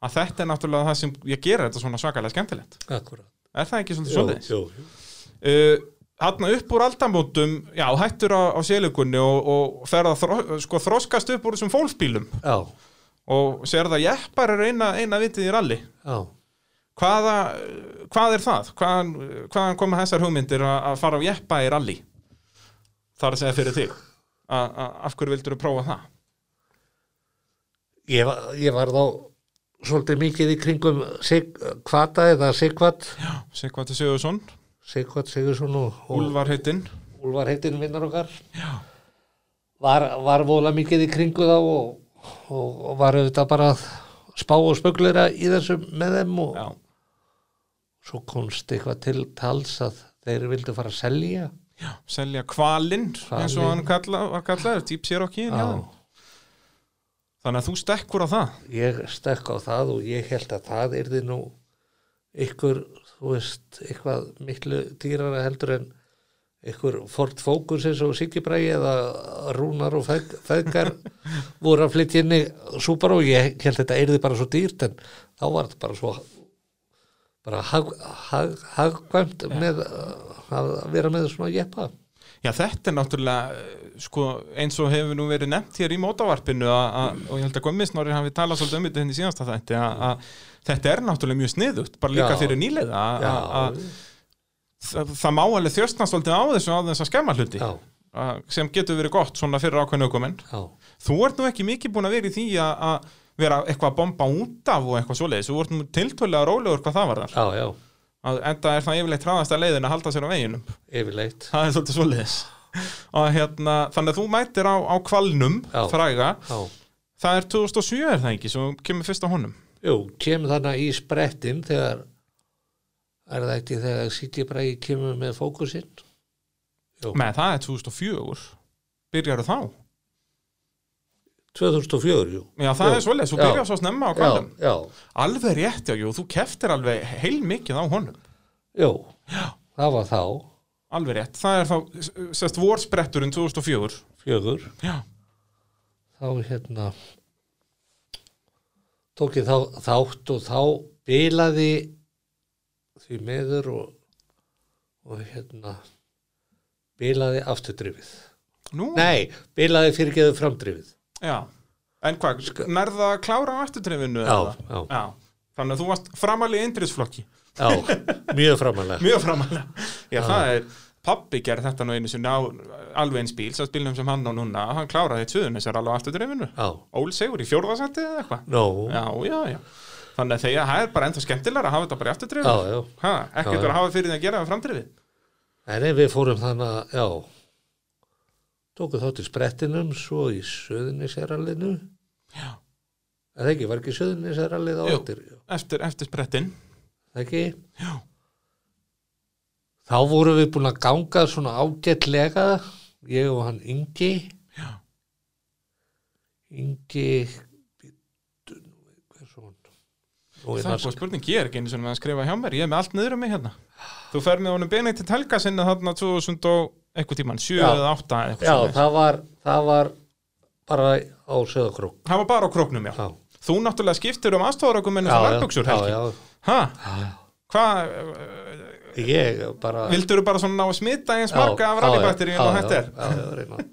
að þetta er náttúrulega það sem ég gera þetta svona svakalega skemmtilegt akkurat er það ekki svolítið Jú, svolítið? jú, jú. uh, hann upp úr aldamótum já, hættur á, á sélugunni og, og fer að þro, sko, þroskast upp úr þessum fólksbílum á, og sér það jeppar er eina, eina vitið í ralli á Hvaða, hvað er það? Hvaðan, hvaðan koma þessar hugmyndir að að fara á jeppa í ralli? Þar að segja fyrir þig A, a, af hverju vildur þú prófa það? ég, var- ég var þá svolítið mikið í kringum sig, kvata eða Sigvat Já, Sigvati Sigurðsson, Sigvat Sigursson og, og Úlvar heitinn Úlfar heitinn vinnar okkar Já, var, var vola mikið í kringu þá og, og, og var auðvitað bara að spá og spöglera í þessum með þeim og já, svo komst eitthvað til tals að þeir vildu fara að selja já selja kvalinn eins og Hvalinn. hann kalla, var kallaður, Deep Cherokee Já. Þannig að þú stekkur á það ég stekk á það og ég held að það yrði nú ykkur, þú veist, eitthvað miklu dýrara heldur en ykkur Ford Focus eins og Sigibræi eða Rúnar og Feðg- Feðgar voru að flytja inn í Subaru, ég held þetta yrði bara svo dýrt en þá var þetta bara svo bara hag, hag, hagkvæmt með uh, að vera með svona jeppa Já, þetta er náttúrulega eh, sko, eins og hefur nú verið nefnt hér í mótavarpinu a, a, og ég held að Gummisnóri hafi talað svolítið um þetta henni síðasta þætti a, a, þetta er náttúrulega mjög sniðugt bara líka Já. fyrir nýlega a, a, Já, a, það, það má alveg þjöstna svolítið á þessu á þess að skemma hluti já, a, sem getur verið gott svona fyrir ákveðnu aukumenn já Þú ert nú ekki mikið búin að vera í því a- að vera eitthvað að bomba út af og eitthvað svoleiðis þú ert nú tiltölulega rólegur hvað það var þar Já, já, enda er það yfirleitt hraðasta leiðin að halda sér á veginum yfirleitt. það er svolítið svoleiðis og hérna, þannig að þú mætir á, á kvalnum Já. fræga, Já. það er 2007 er það ekki, svo kemur fyrst á honum Jú, kemur þarna í sprettin þegar, er það ekki þegar Sítið Bræði kemur með fókusinn? Jú, með það er 2004 byrjar þá, 2004, jú. já það Jú. er svoleiðis þú Já. byrjar svo snemma á kvalnum, Já, alveg rétt já, jú, þú keftir alveg heil mikið á honum já, jú, það var þá, alveg rétt, það er þá sérst vorspretturinn 2004 fjögur, já, þá hérna, tók ég þá, þátt og þá bilaði því meður og, og hérna, bilaði afturdrifið. nú, Nei, bilaði fyrirgeðu framdrifið. já en hvað, nærða að klára á eftirtrefinu Já, já. já, þannig að þú varst framalega indriðsflokki Já, mjög framalega. mjög framalega já það er, pabbi gerði þetta nú einu sinni á alveg eins bíl, svo bílnum sem hann á núna hann kláraði þetta suðun þessar alveg aftur dreifinu Já, Ól Sigur í fjórðasetti eða eitthvað nó, já, já, já, já, þannig að þegar það er bara ennþá skemmtilega að hafa þetta bara í aftur dreifinu já. ekkert Já, verið já. að hafa fyrir því að gera við framdreifið En ef við fórum þannig að, já, tóku þá til sprettinum, svo í söðunisæralinu. Já. Er það ekki, var ekki söðunisæralið á Jú. eftir? Já. eftir, eftir sprettinn Það ekki? Já. Þá vorum við búin að ganga svona ágætlega, ég og hann Ingi. Já. Ingi, býttu nú, hver svo hann? Nú sko- er það er það góð spurning, ég er ekki einu sinni með að skrifa hjá mér ég er með allt niður um mig hérna þú fer með honum benið til telga sinna þarna 2000 og eitthvað tíman, 7 Já. eða 8 eða Já, eitthvað svoleiðis. það var, það var bara á söðakrók. það var bara á króknum, já. Já, Þú náttúrulega skiptir um aðstofarökuminn og verðbuxur, já, Helgi. já, Hæ? já. Hvað, Ég bara... vildur þú eh, bara svona ná að smita eins marga af rallybættirinn og hætt er? Já, já, já, reyna.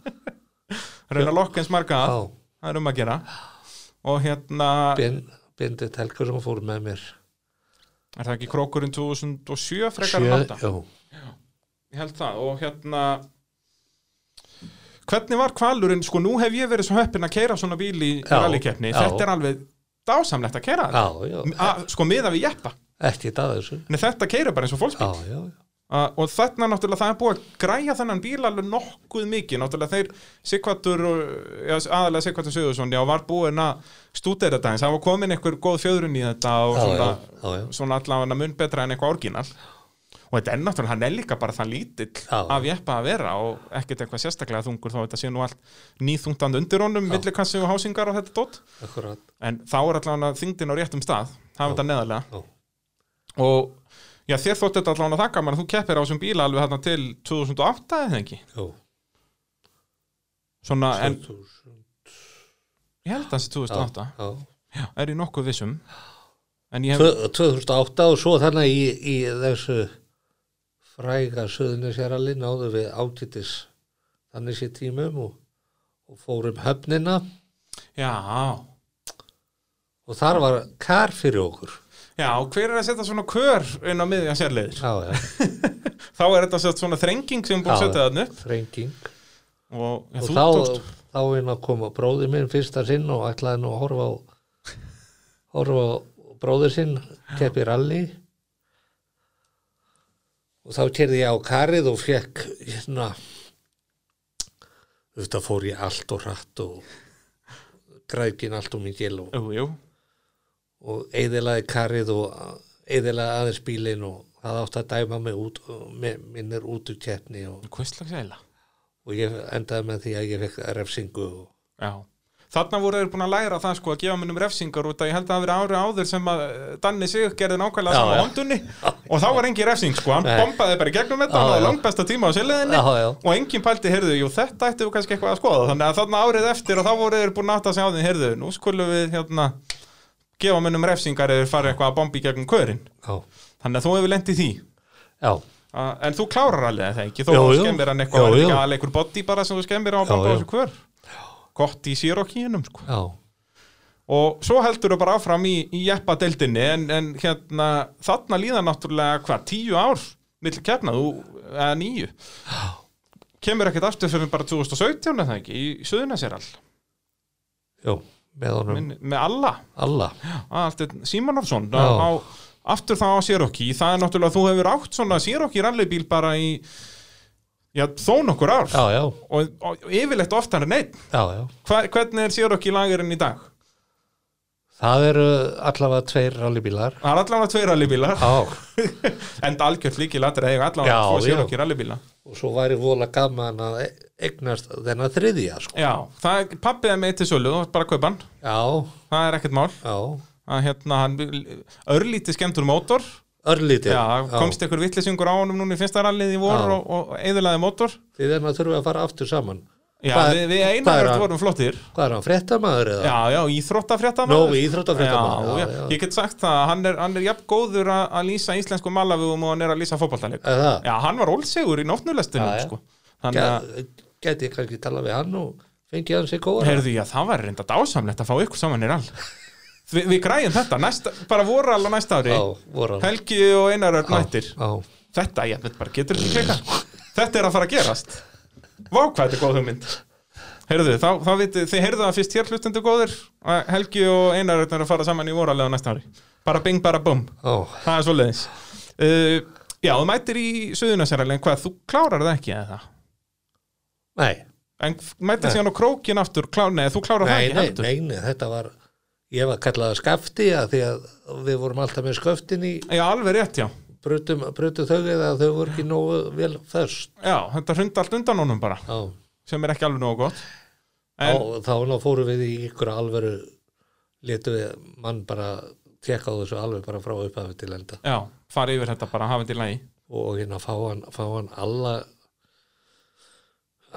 Reyna að lokka eins marga Já, að, það er um að gera. og hérna, Ben- Bendit Helgason fór með mér er það ekki krókurinn 2007 frekar en halda? Sjö, Ég held það og hérna Hvernig var kvalurinn, sko nú hef ég verið svo höppin að keira svona bíl í Já, rallikeppni, já. þetta er alveg dásamlegt að keira já, þetta, já, A- sko miða við jeppa ekki það þessu en þetta keira bara eins og fólksbíl já, já, uh, og þarna náttúrulega það er búið að græja þennan bíl alveg nokkuð mikið, náttúrulega þeir Sikvatur, ja, aðalega Sikvatur Söðursson já, var búin að stúdera þetta eins það var komin einhver góð fjöðrun í þetta og já, svona, já, já, já. svona allavega mun betra en eitthvað orginal og þetta er náttúrulega, hann er líka bara það lítill Já. af jeppa að vera og ekkert eitthvað sérstaklega þungur þó þetta sé nú allt nýþungtand undir honum, millikassi og hásingar og þetta dótt akkurat en þá er allavega þingdin á réttum stað hafa þetta neðarlega já. og já, þér þótti þetta allavega það gaman að þú keppir á þessum bíla alveg þarna til 2008 eða ekki Já, svona, en 2000, ég held að hans er 2008 já. já, er ég nokkuð vissum en ég hef, Tvö- 2008 og svo þannig í, í þessu fræga söðunisjarali náðu við ágætis þannig sér tímum og, og fórum höfnina já og þar var kar fyrir okkur já, hver er að setja svona kör inn á miðja sérleiðir já, já, þá er þetta sett svona þrenging sem er búin að Já. setja þarna upp þrenging og, já, og þú þá, tókst þá inn að koma bróðir minn fyrsta sinn og ætlaði nú að horfa á horfa á bróðir sinn keppi rally og þá kerði ég á karið og fekk hérna þetta fór ég allt og hratt og grækin allt og mikið og, jú, jú, og eðilaði karið og eðilaði aðeins bílinn og það átti að dæma mig út með minnir út úr keppni og, hvistlags eila og ég endaði með því að ég fekk refsingu og já Þarna voru þeir búin að læra það sko að gefa munum refsingar út að ég held að það hafi verið ári áður sem að eh, Danni Sigur gerði nákvæmlega Já, saman já. hondunni og þá var engin refsing sko, hann Nei. bombaði bara í gegnum þetta Já, og já. langbesta tíma á sérleðinni Já, já. og engin pælti, heyrðu, jú þetta ættu við kannski eitthvað að skoða þannig að þarna árið eftir og þá voru þeir búin að átta sig á því, heyrðu, nú skulum við hérna gefa munum refsingar eða fara eitthvað að bomba í gegnum körin Já, þannig að þú hefur lent í því já, Uh, en þú klárar alveg það ekki, þó Jú, þú jú. skemmir hann eitthvað, Jú, er þetta jú. ekki aðlega einhver body bara sem þú skemmir á að Já, bamba á jú. þessu hver gott í sírokkinum sko. já, og svo heldur þú bara áfram í, í jeppadeildinni en, en hérna, þarna líða náttúrulega hvað, tíu ár milli kefna, þú, eða nýju kemur ekkert aftur fyrir bara 2017 eða ekki, í Suðunaséral já, með honum með alla, alla, allt Símonarsson Já. á, aftur þá á sírokki það er náttúrulega, þú hefur átt svona sírokki rallybíl bara í já, þó nokkur ár já, já, og, og yfirleitt oftar en einn já, já. Hva, hvernig er Sirokki lagerinn í dag? Það eru allavega tveir rallybílar. það er allavega tveir rallybílar Já, en algjört líki latur eiga allavega Já, tvo já. Sirokki rallybíla og svo væri vola gaman að e- eignast þennan þriðja, sko. já, það er pappið er með til sölu þú ert bara að kaupa hann, Já, það er ekkert mál já, að hérna hann örlítið skemmtur mótor örlítið. já, komst ykkur vittlisingur á honum núna í fyrsta rallið í Já. vor og, og eðilaði mótor Þið þennan þurfum að fara aftur saman. já, Hvað- við, við hvað er einar hann? vorum flottir Hvað er hann, fréttamaður eða? já, já, íþróttafréttamaður Nó, íþróttafréttamaður, já, já, já, já. ég get sagt það, hann er, hann er jafn góður að að lýsa íslensku malavugum og hann er að lýsa fótballtaleg Er það? Já, hann var ólsegur í nótnulestinu Já, já. sko. Þannig að, Ge- Gæti ég kannski tala við hann og fengi hann sig góða? heyrðu ég að það var reynda dásamlegt að fá ykkur saman í all Vi, Við græjum þetta, næsta, bara voru alveg næsta ári Já, voru hann. Helgi og Einar Örn mættir Já, Þetta, ég veit bara, getur ekki klika Þetta er að fara að gerast Vá, hvað þetta er góð hugmynd Heyrðu, þá, þá vitið, þið heyrðu það fyrst hér hlustendu góðir að Helgi og Einar Örn eru að fara saman í voralega næsta ári Bara bing, bara bum já, Það er svoleiðis uh, Já, þú mættir í Suðunarsjæralinn hvað, þú klárar það ekki eða það? nei. En mættir síðan á krókin aftur klá, Nei, þú klárar það nei, ekki nei, heldur nei, nei, þetta var ég var kallað að skafti að því að við vorum alltaf með skaftin í Já, alveg rétt, já brutum, brutum þau eða þau voru ekki nógu vel föst Já, þetta hrundi allt undan honum bara já, sem er ekki alveg nógu gott En, en, þá þá fórum við í ykkur alveru letum við mann bara tekka á þessu alveg bara frá upphafi til enda já, fara yfir þetta bara, hafa þetta í lagi og hérna fá hann, fá hann alla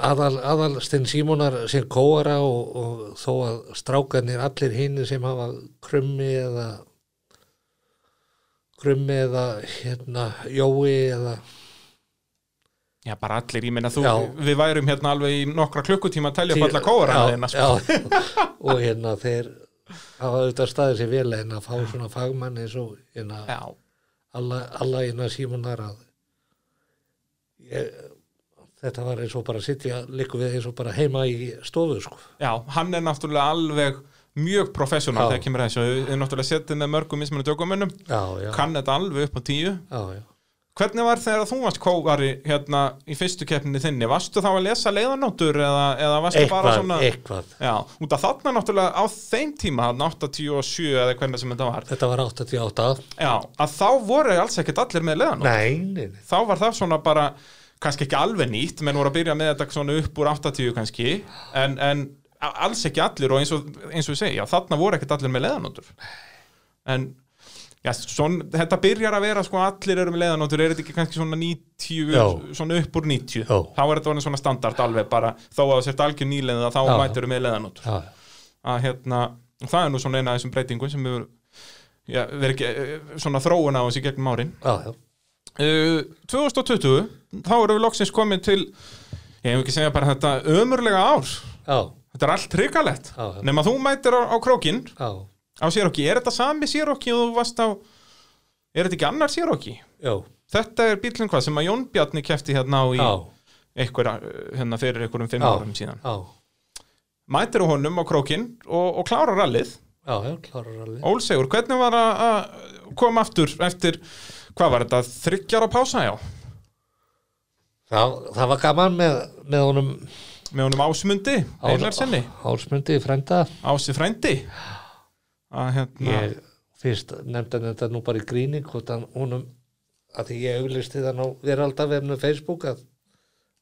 aðal, aðalstinn Símonar sem kóara og, og þó að strákanir allir hinn sem hafa krummi eða krummi eða hérna jói eða Já, bara allir, ég meina þú, Já. við værum hérna alveg í nokkra klukkutíma að telja upp alla kóra Já, þeirna, sko. já, og hérna þeir hafa auðvitað staðið sér vel en að fá svona fagmann eins og hérna Já, alla, alla innan símunar að ég, þetta var eins og bara að sitja líku við eins og bara heima í stofu sko. já, hann er náttúrulega alveg mjög professional Já. þegar kemur að þessu Þið er náttúrulega setið með mörgum mismunandi ökumönnum já, já, kann þetta alveg upp á tíu já, já. Hvernig var þegar þú varst kóvari hérna í fyrstu keppninni þinni? Varstu þá að lesa leiðanótur eða, eða varstu bara eitthvað, svona... eitthvað Já, út af þarna náttúrulega á þeim tíma, hann 87 eða hvernig sem þetta var. þetta var 88 Já, að þá voru alls ekkert allir með leiðanótur. nei, nei, nei. Þá var það svona bara, kannski ekki alveg nýtt, menn voru að byrja með þetta svona upp úr 80 kannski, en, en a- alls ekki allir og eins og, eins og ég segi, já, þarna voru ekkert allir með leiðanótur. En... Já, svon, þetta byrjar að vera sko allir eru með leiðanótur, er þetta ekki kannski svona 90, Já. svona upp úr 90 Já. þá er þetta orðin svona standard alveg bara þó að það sért algjör nýleiða þá Já. mætur við með leiðanótur Já, já. að hérna, það er nú svona eina af þessum breytingum sem hefur já, verið ekki, eh, svona þróun á þessi gegnum árin já, já. uh, 2020 þá erum við loksins komin til ég hef ekki segja bara þetta ömurlega ár já, þetta er allt hrikalegt Já, já. nema þú mætir á, á krókin já. á sérokki, er þetta sami sérokki og þú varst á er þetta ekki annar sérokki já. þetta er bílinn hvað sem að Jón Bjarni kefti hérna á í já. einhverja, eh, hérna fyrir einhverjum fimm Já. árum síðan já. mætir á honum á krókin og, og klárar allið já, já, klárar alveg Ólsegur, hvernig var að að koma aftur eftir, hvað var þetta, þryggjar á pása, já, það, það var gaman með, með honum með honum Ásmundi, Ás- Einarsenni, Ásmundi frænda Ási frændi, að hérna, ég fyrst nefndi hann þetta nú bara í gríning hvort hann honum að því ég auglisti þann á veraldavefnu Facebook að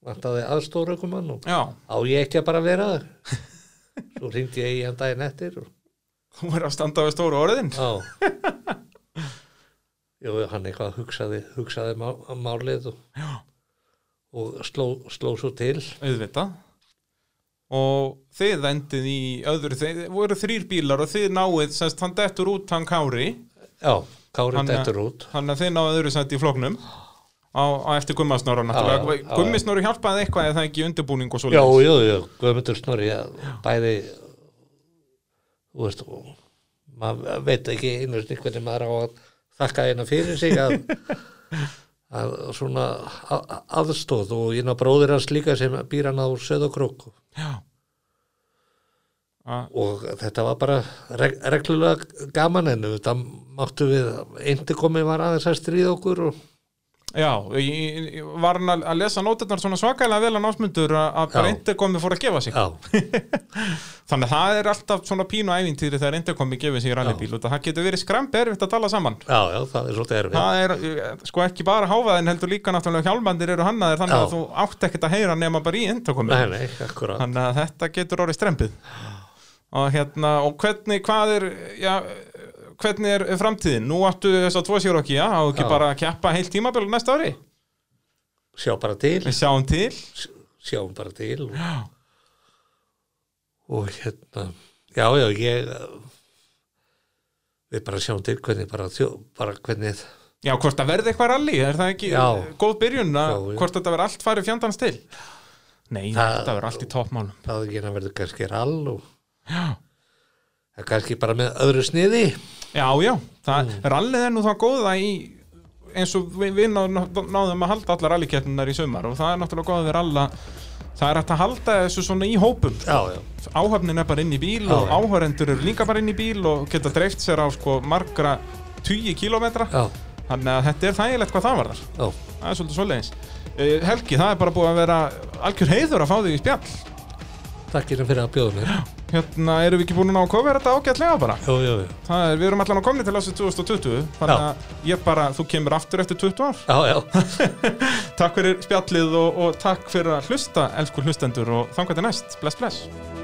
vantaði aðstóra ykkur mann og já, á ég ekki að bara vera þar svo hringdi ég í hann daginn eftir og þú er að standa við stóru orðin, á Jú, hann eitthvað hugsaði, hugsaði má, málið og, já, og sló, sló svo til auðvitað, og þið endið í öðru, þið voru þrýr bílar og þið náið, semst, hann dettur út, hann kári, já, Kári Hann- dættur út þannig að þið náið öðru sætt í floknum, á, á eftir gummasnóra, náttúrulega, já, já, já. gummisnóru hjálpaði eitthvað eða það ekki í undirbúning og svo Já, já, já, Guðmundur Snorri að bæði þú veist og maður veit ekki einu sinni hvernig maður á að þakka hérna fyrir sig að, að svona a- a- aðstóð og hérna bróðir hans líka sem býr hann á Söðokrók já. Að- og þetta var bara reg reglulega gaman en þetta máttu við einti komið var aðeins að stríða okkur og Já, ég, ég var hann að að lesa nótirnar svona svakalega vel að násmundur að bara Já. interkomi fór að gefa sig. já, Þannig að það er alltaf svona pínu ævintýri þegar interkomi gefið sig í rallybíl og það getur verið skrampi erfitt að tala saman. já, já, það er svolítið erfið Það er eh, sko ekki bara háfaðin heldur líka náttúrulega hjálmandir eru hannaðir þannig Já. að þú átt ekkert að heyra nema bara í interkomi. Nei, nei, akkurat Þannig að þetta getur orðið strempið. Og hérna, og hvernig, hvað er, já, hvernig er framtíðin? Nú áttu þess að tvo sér okki, já, á ekki Já. bara að keppa heilt tímabil næsta ári? Sjá bara til Við sjáum til. sjáum bara til og, Já. og hérna já, já, ég við bara sjáum til hvernig bara, þjó, bara hvernig Já, hvort það verði eitthvað rally, er það ekki Já. góð byrjun að Já, já. hvort þetta verði allt farið fjandans til? Nei, Það- þetta verði allt í toppmálum. það er hérna verður kannski rall og Já, það er kannski bara með öðru sniði já, já það, Mm. rallið er nú þá góða í eins og við, við ná, ná- náðum að halda allar rallikeppnunar í sumar og það er náttúrulega góða við ralla það er hægt að halda þessu svona í hópum já, já, áhafnin er bara inn í bíl Já, og já. áhörendur eru líka bara inn í bíl og geta dreift sér á sko margra tugi kilometra já, þannig að þetta er þægilegt hvað það varðar já, það er svolítið svoleiðis uh, Helgi, það er bara búið að vera algjör heiður að fá þig í spjall takk hérna fyrir að bjóða mér hérna erum við ekki búin að ná að kofera þetta ágætlega bara já, já, já, það er, við erum allan að komni til ásins 2020 þannig að ég bara, þú kemur aftur eftir 20 ár já, já, takk fyrir spjallið og, og takk fyrir að hlusta elsku hlustendur og þangar til næst, bless bless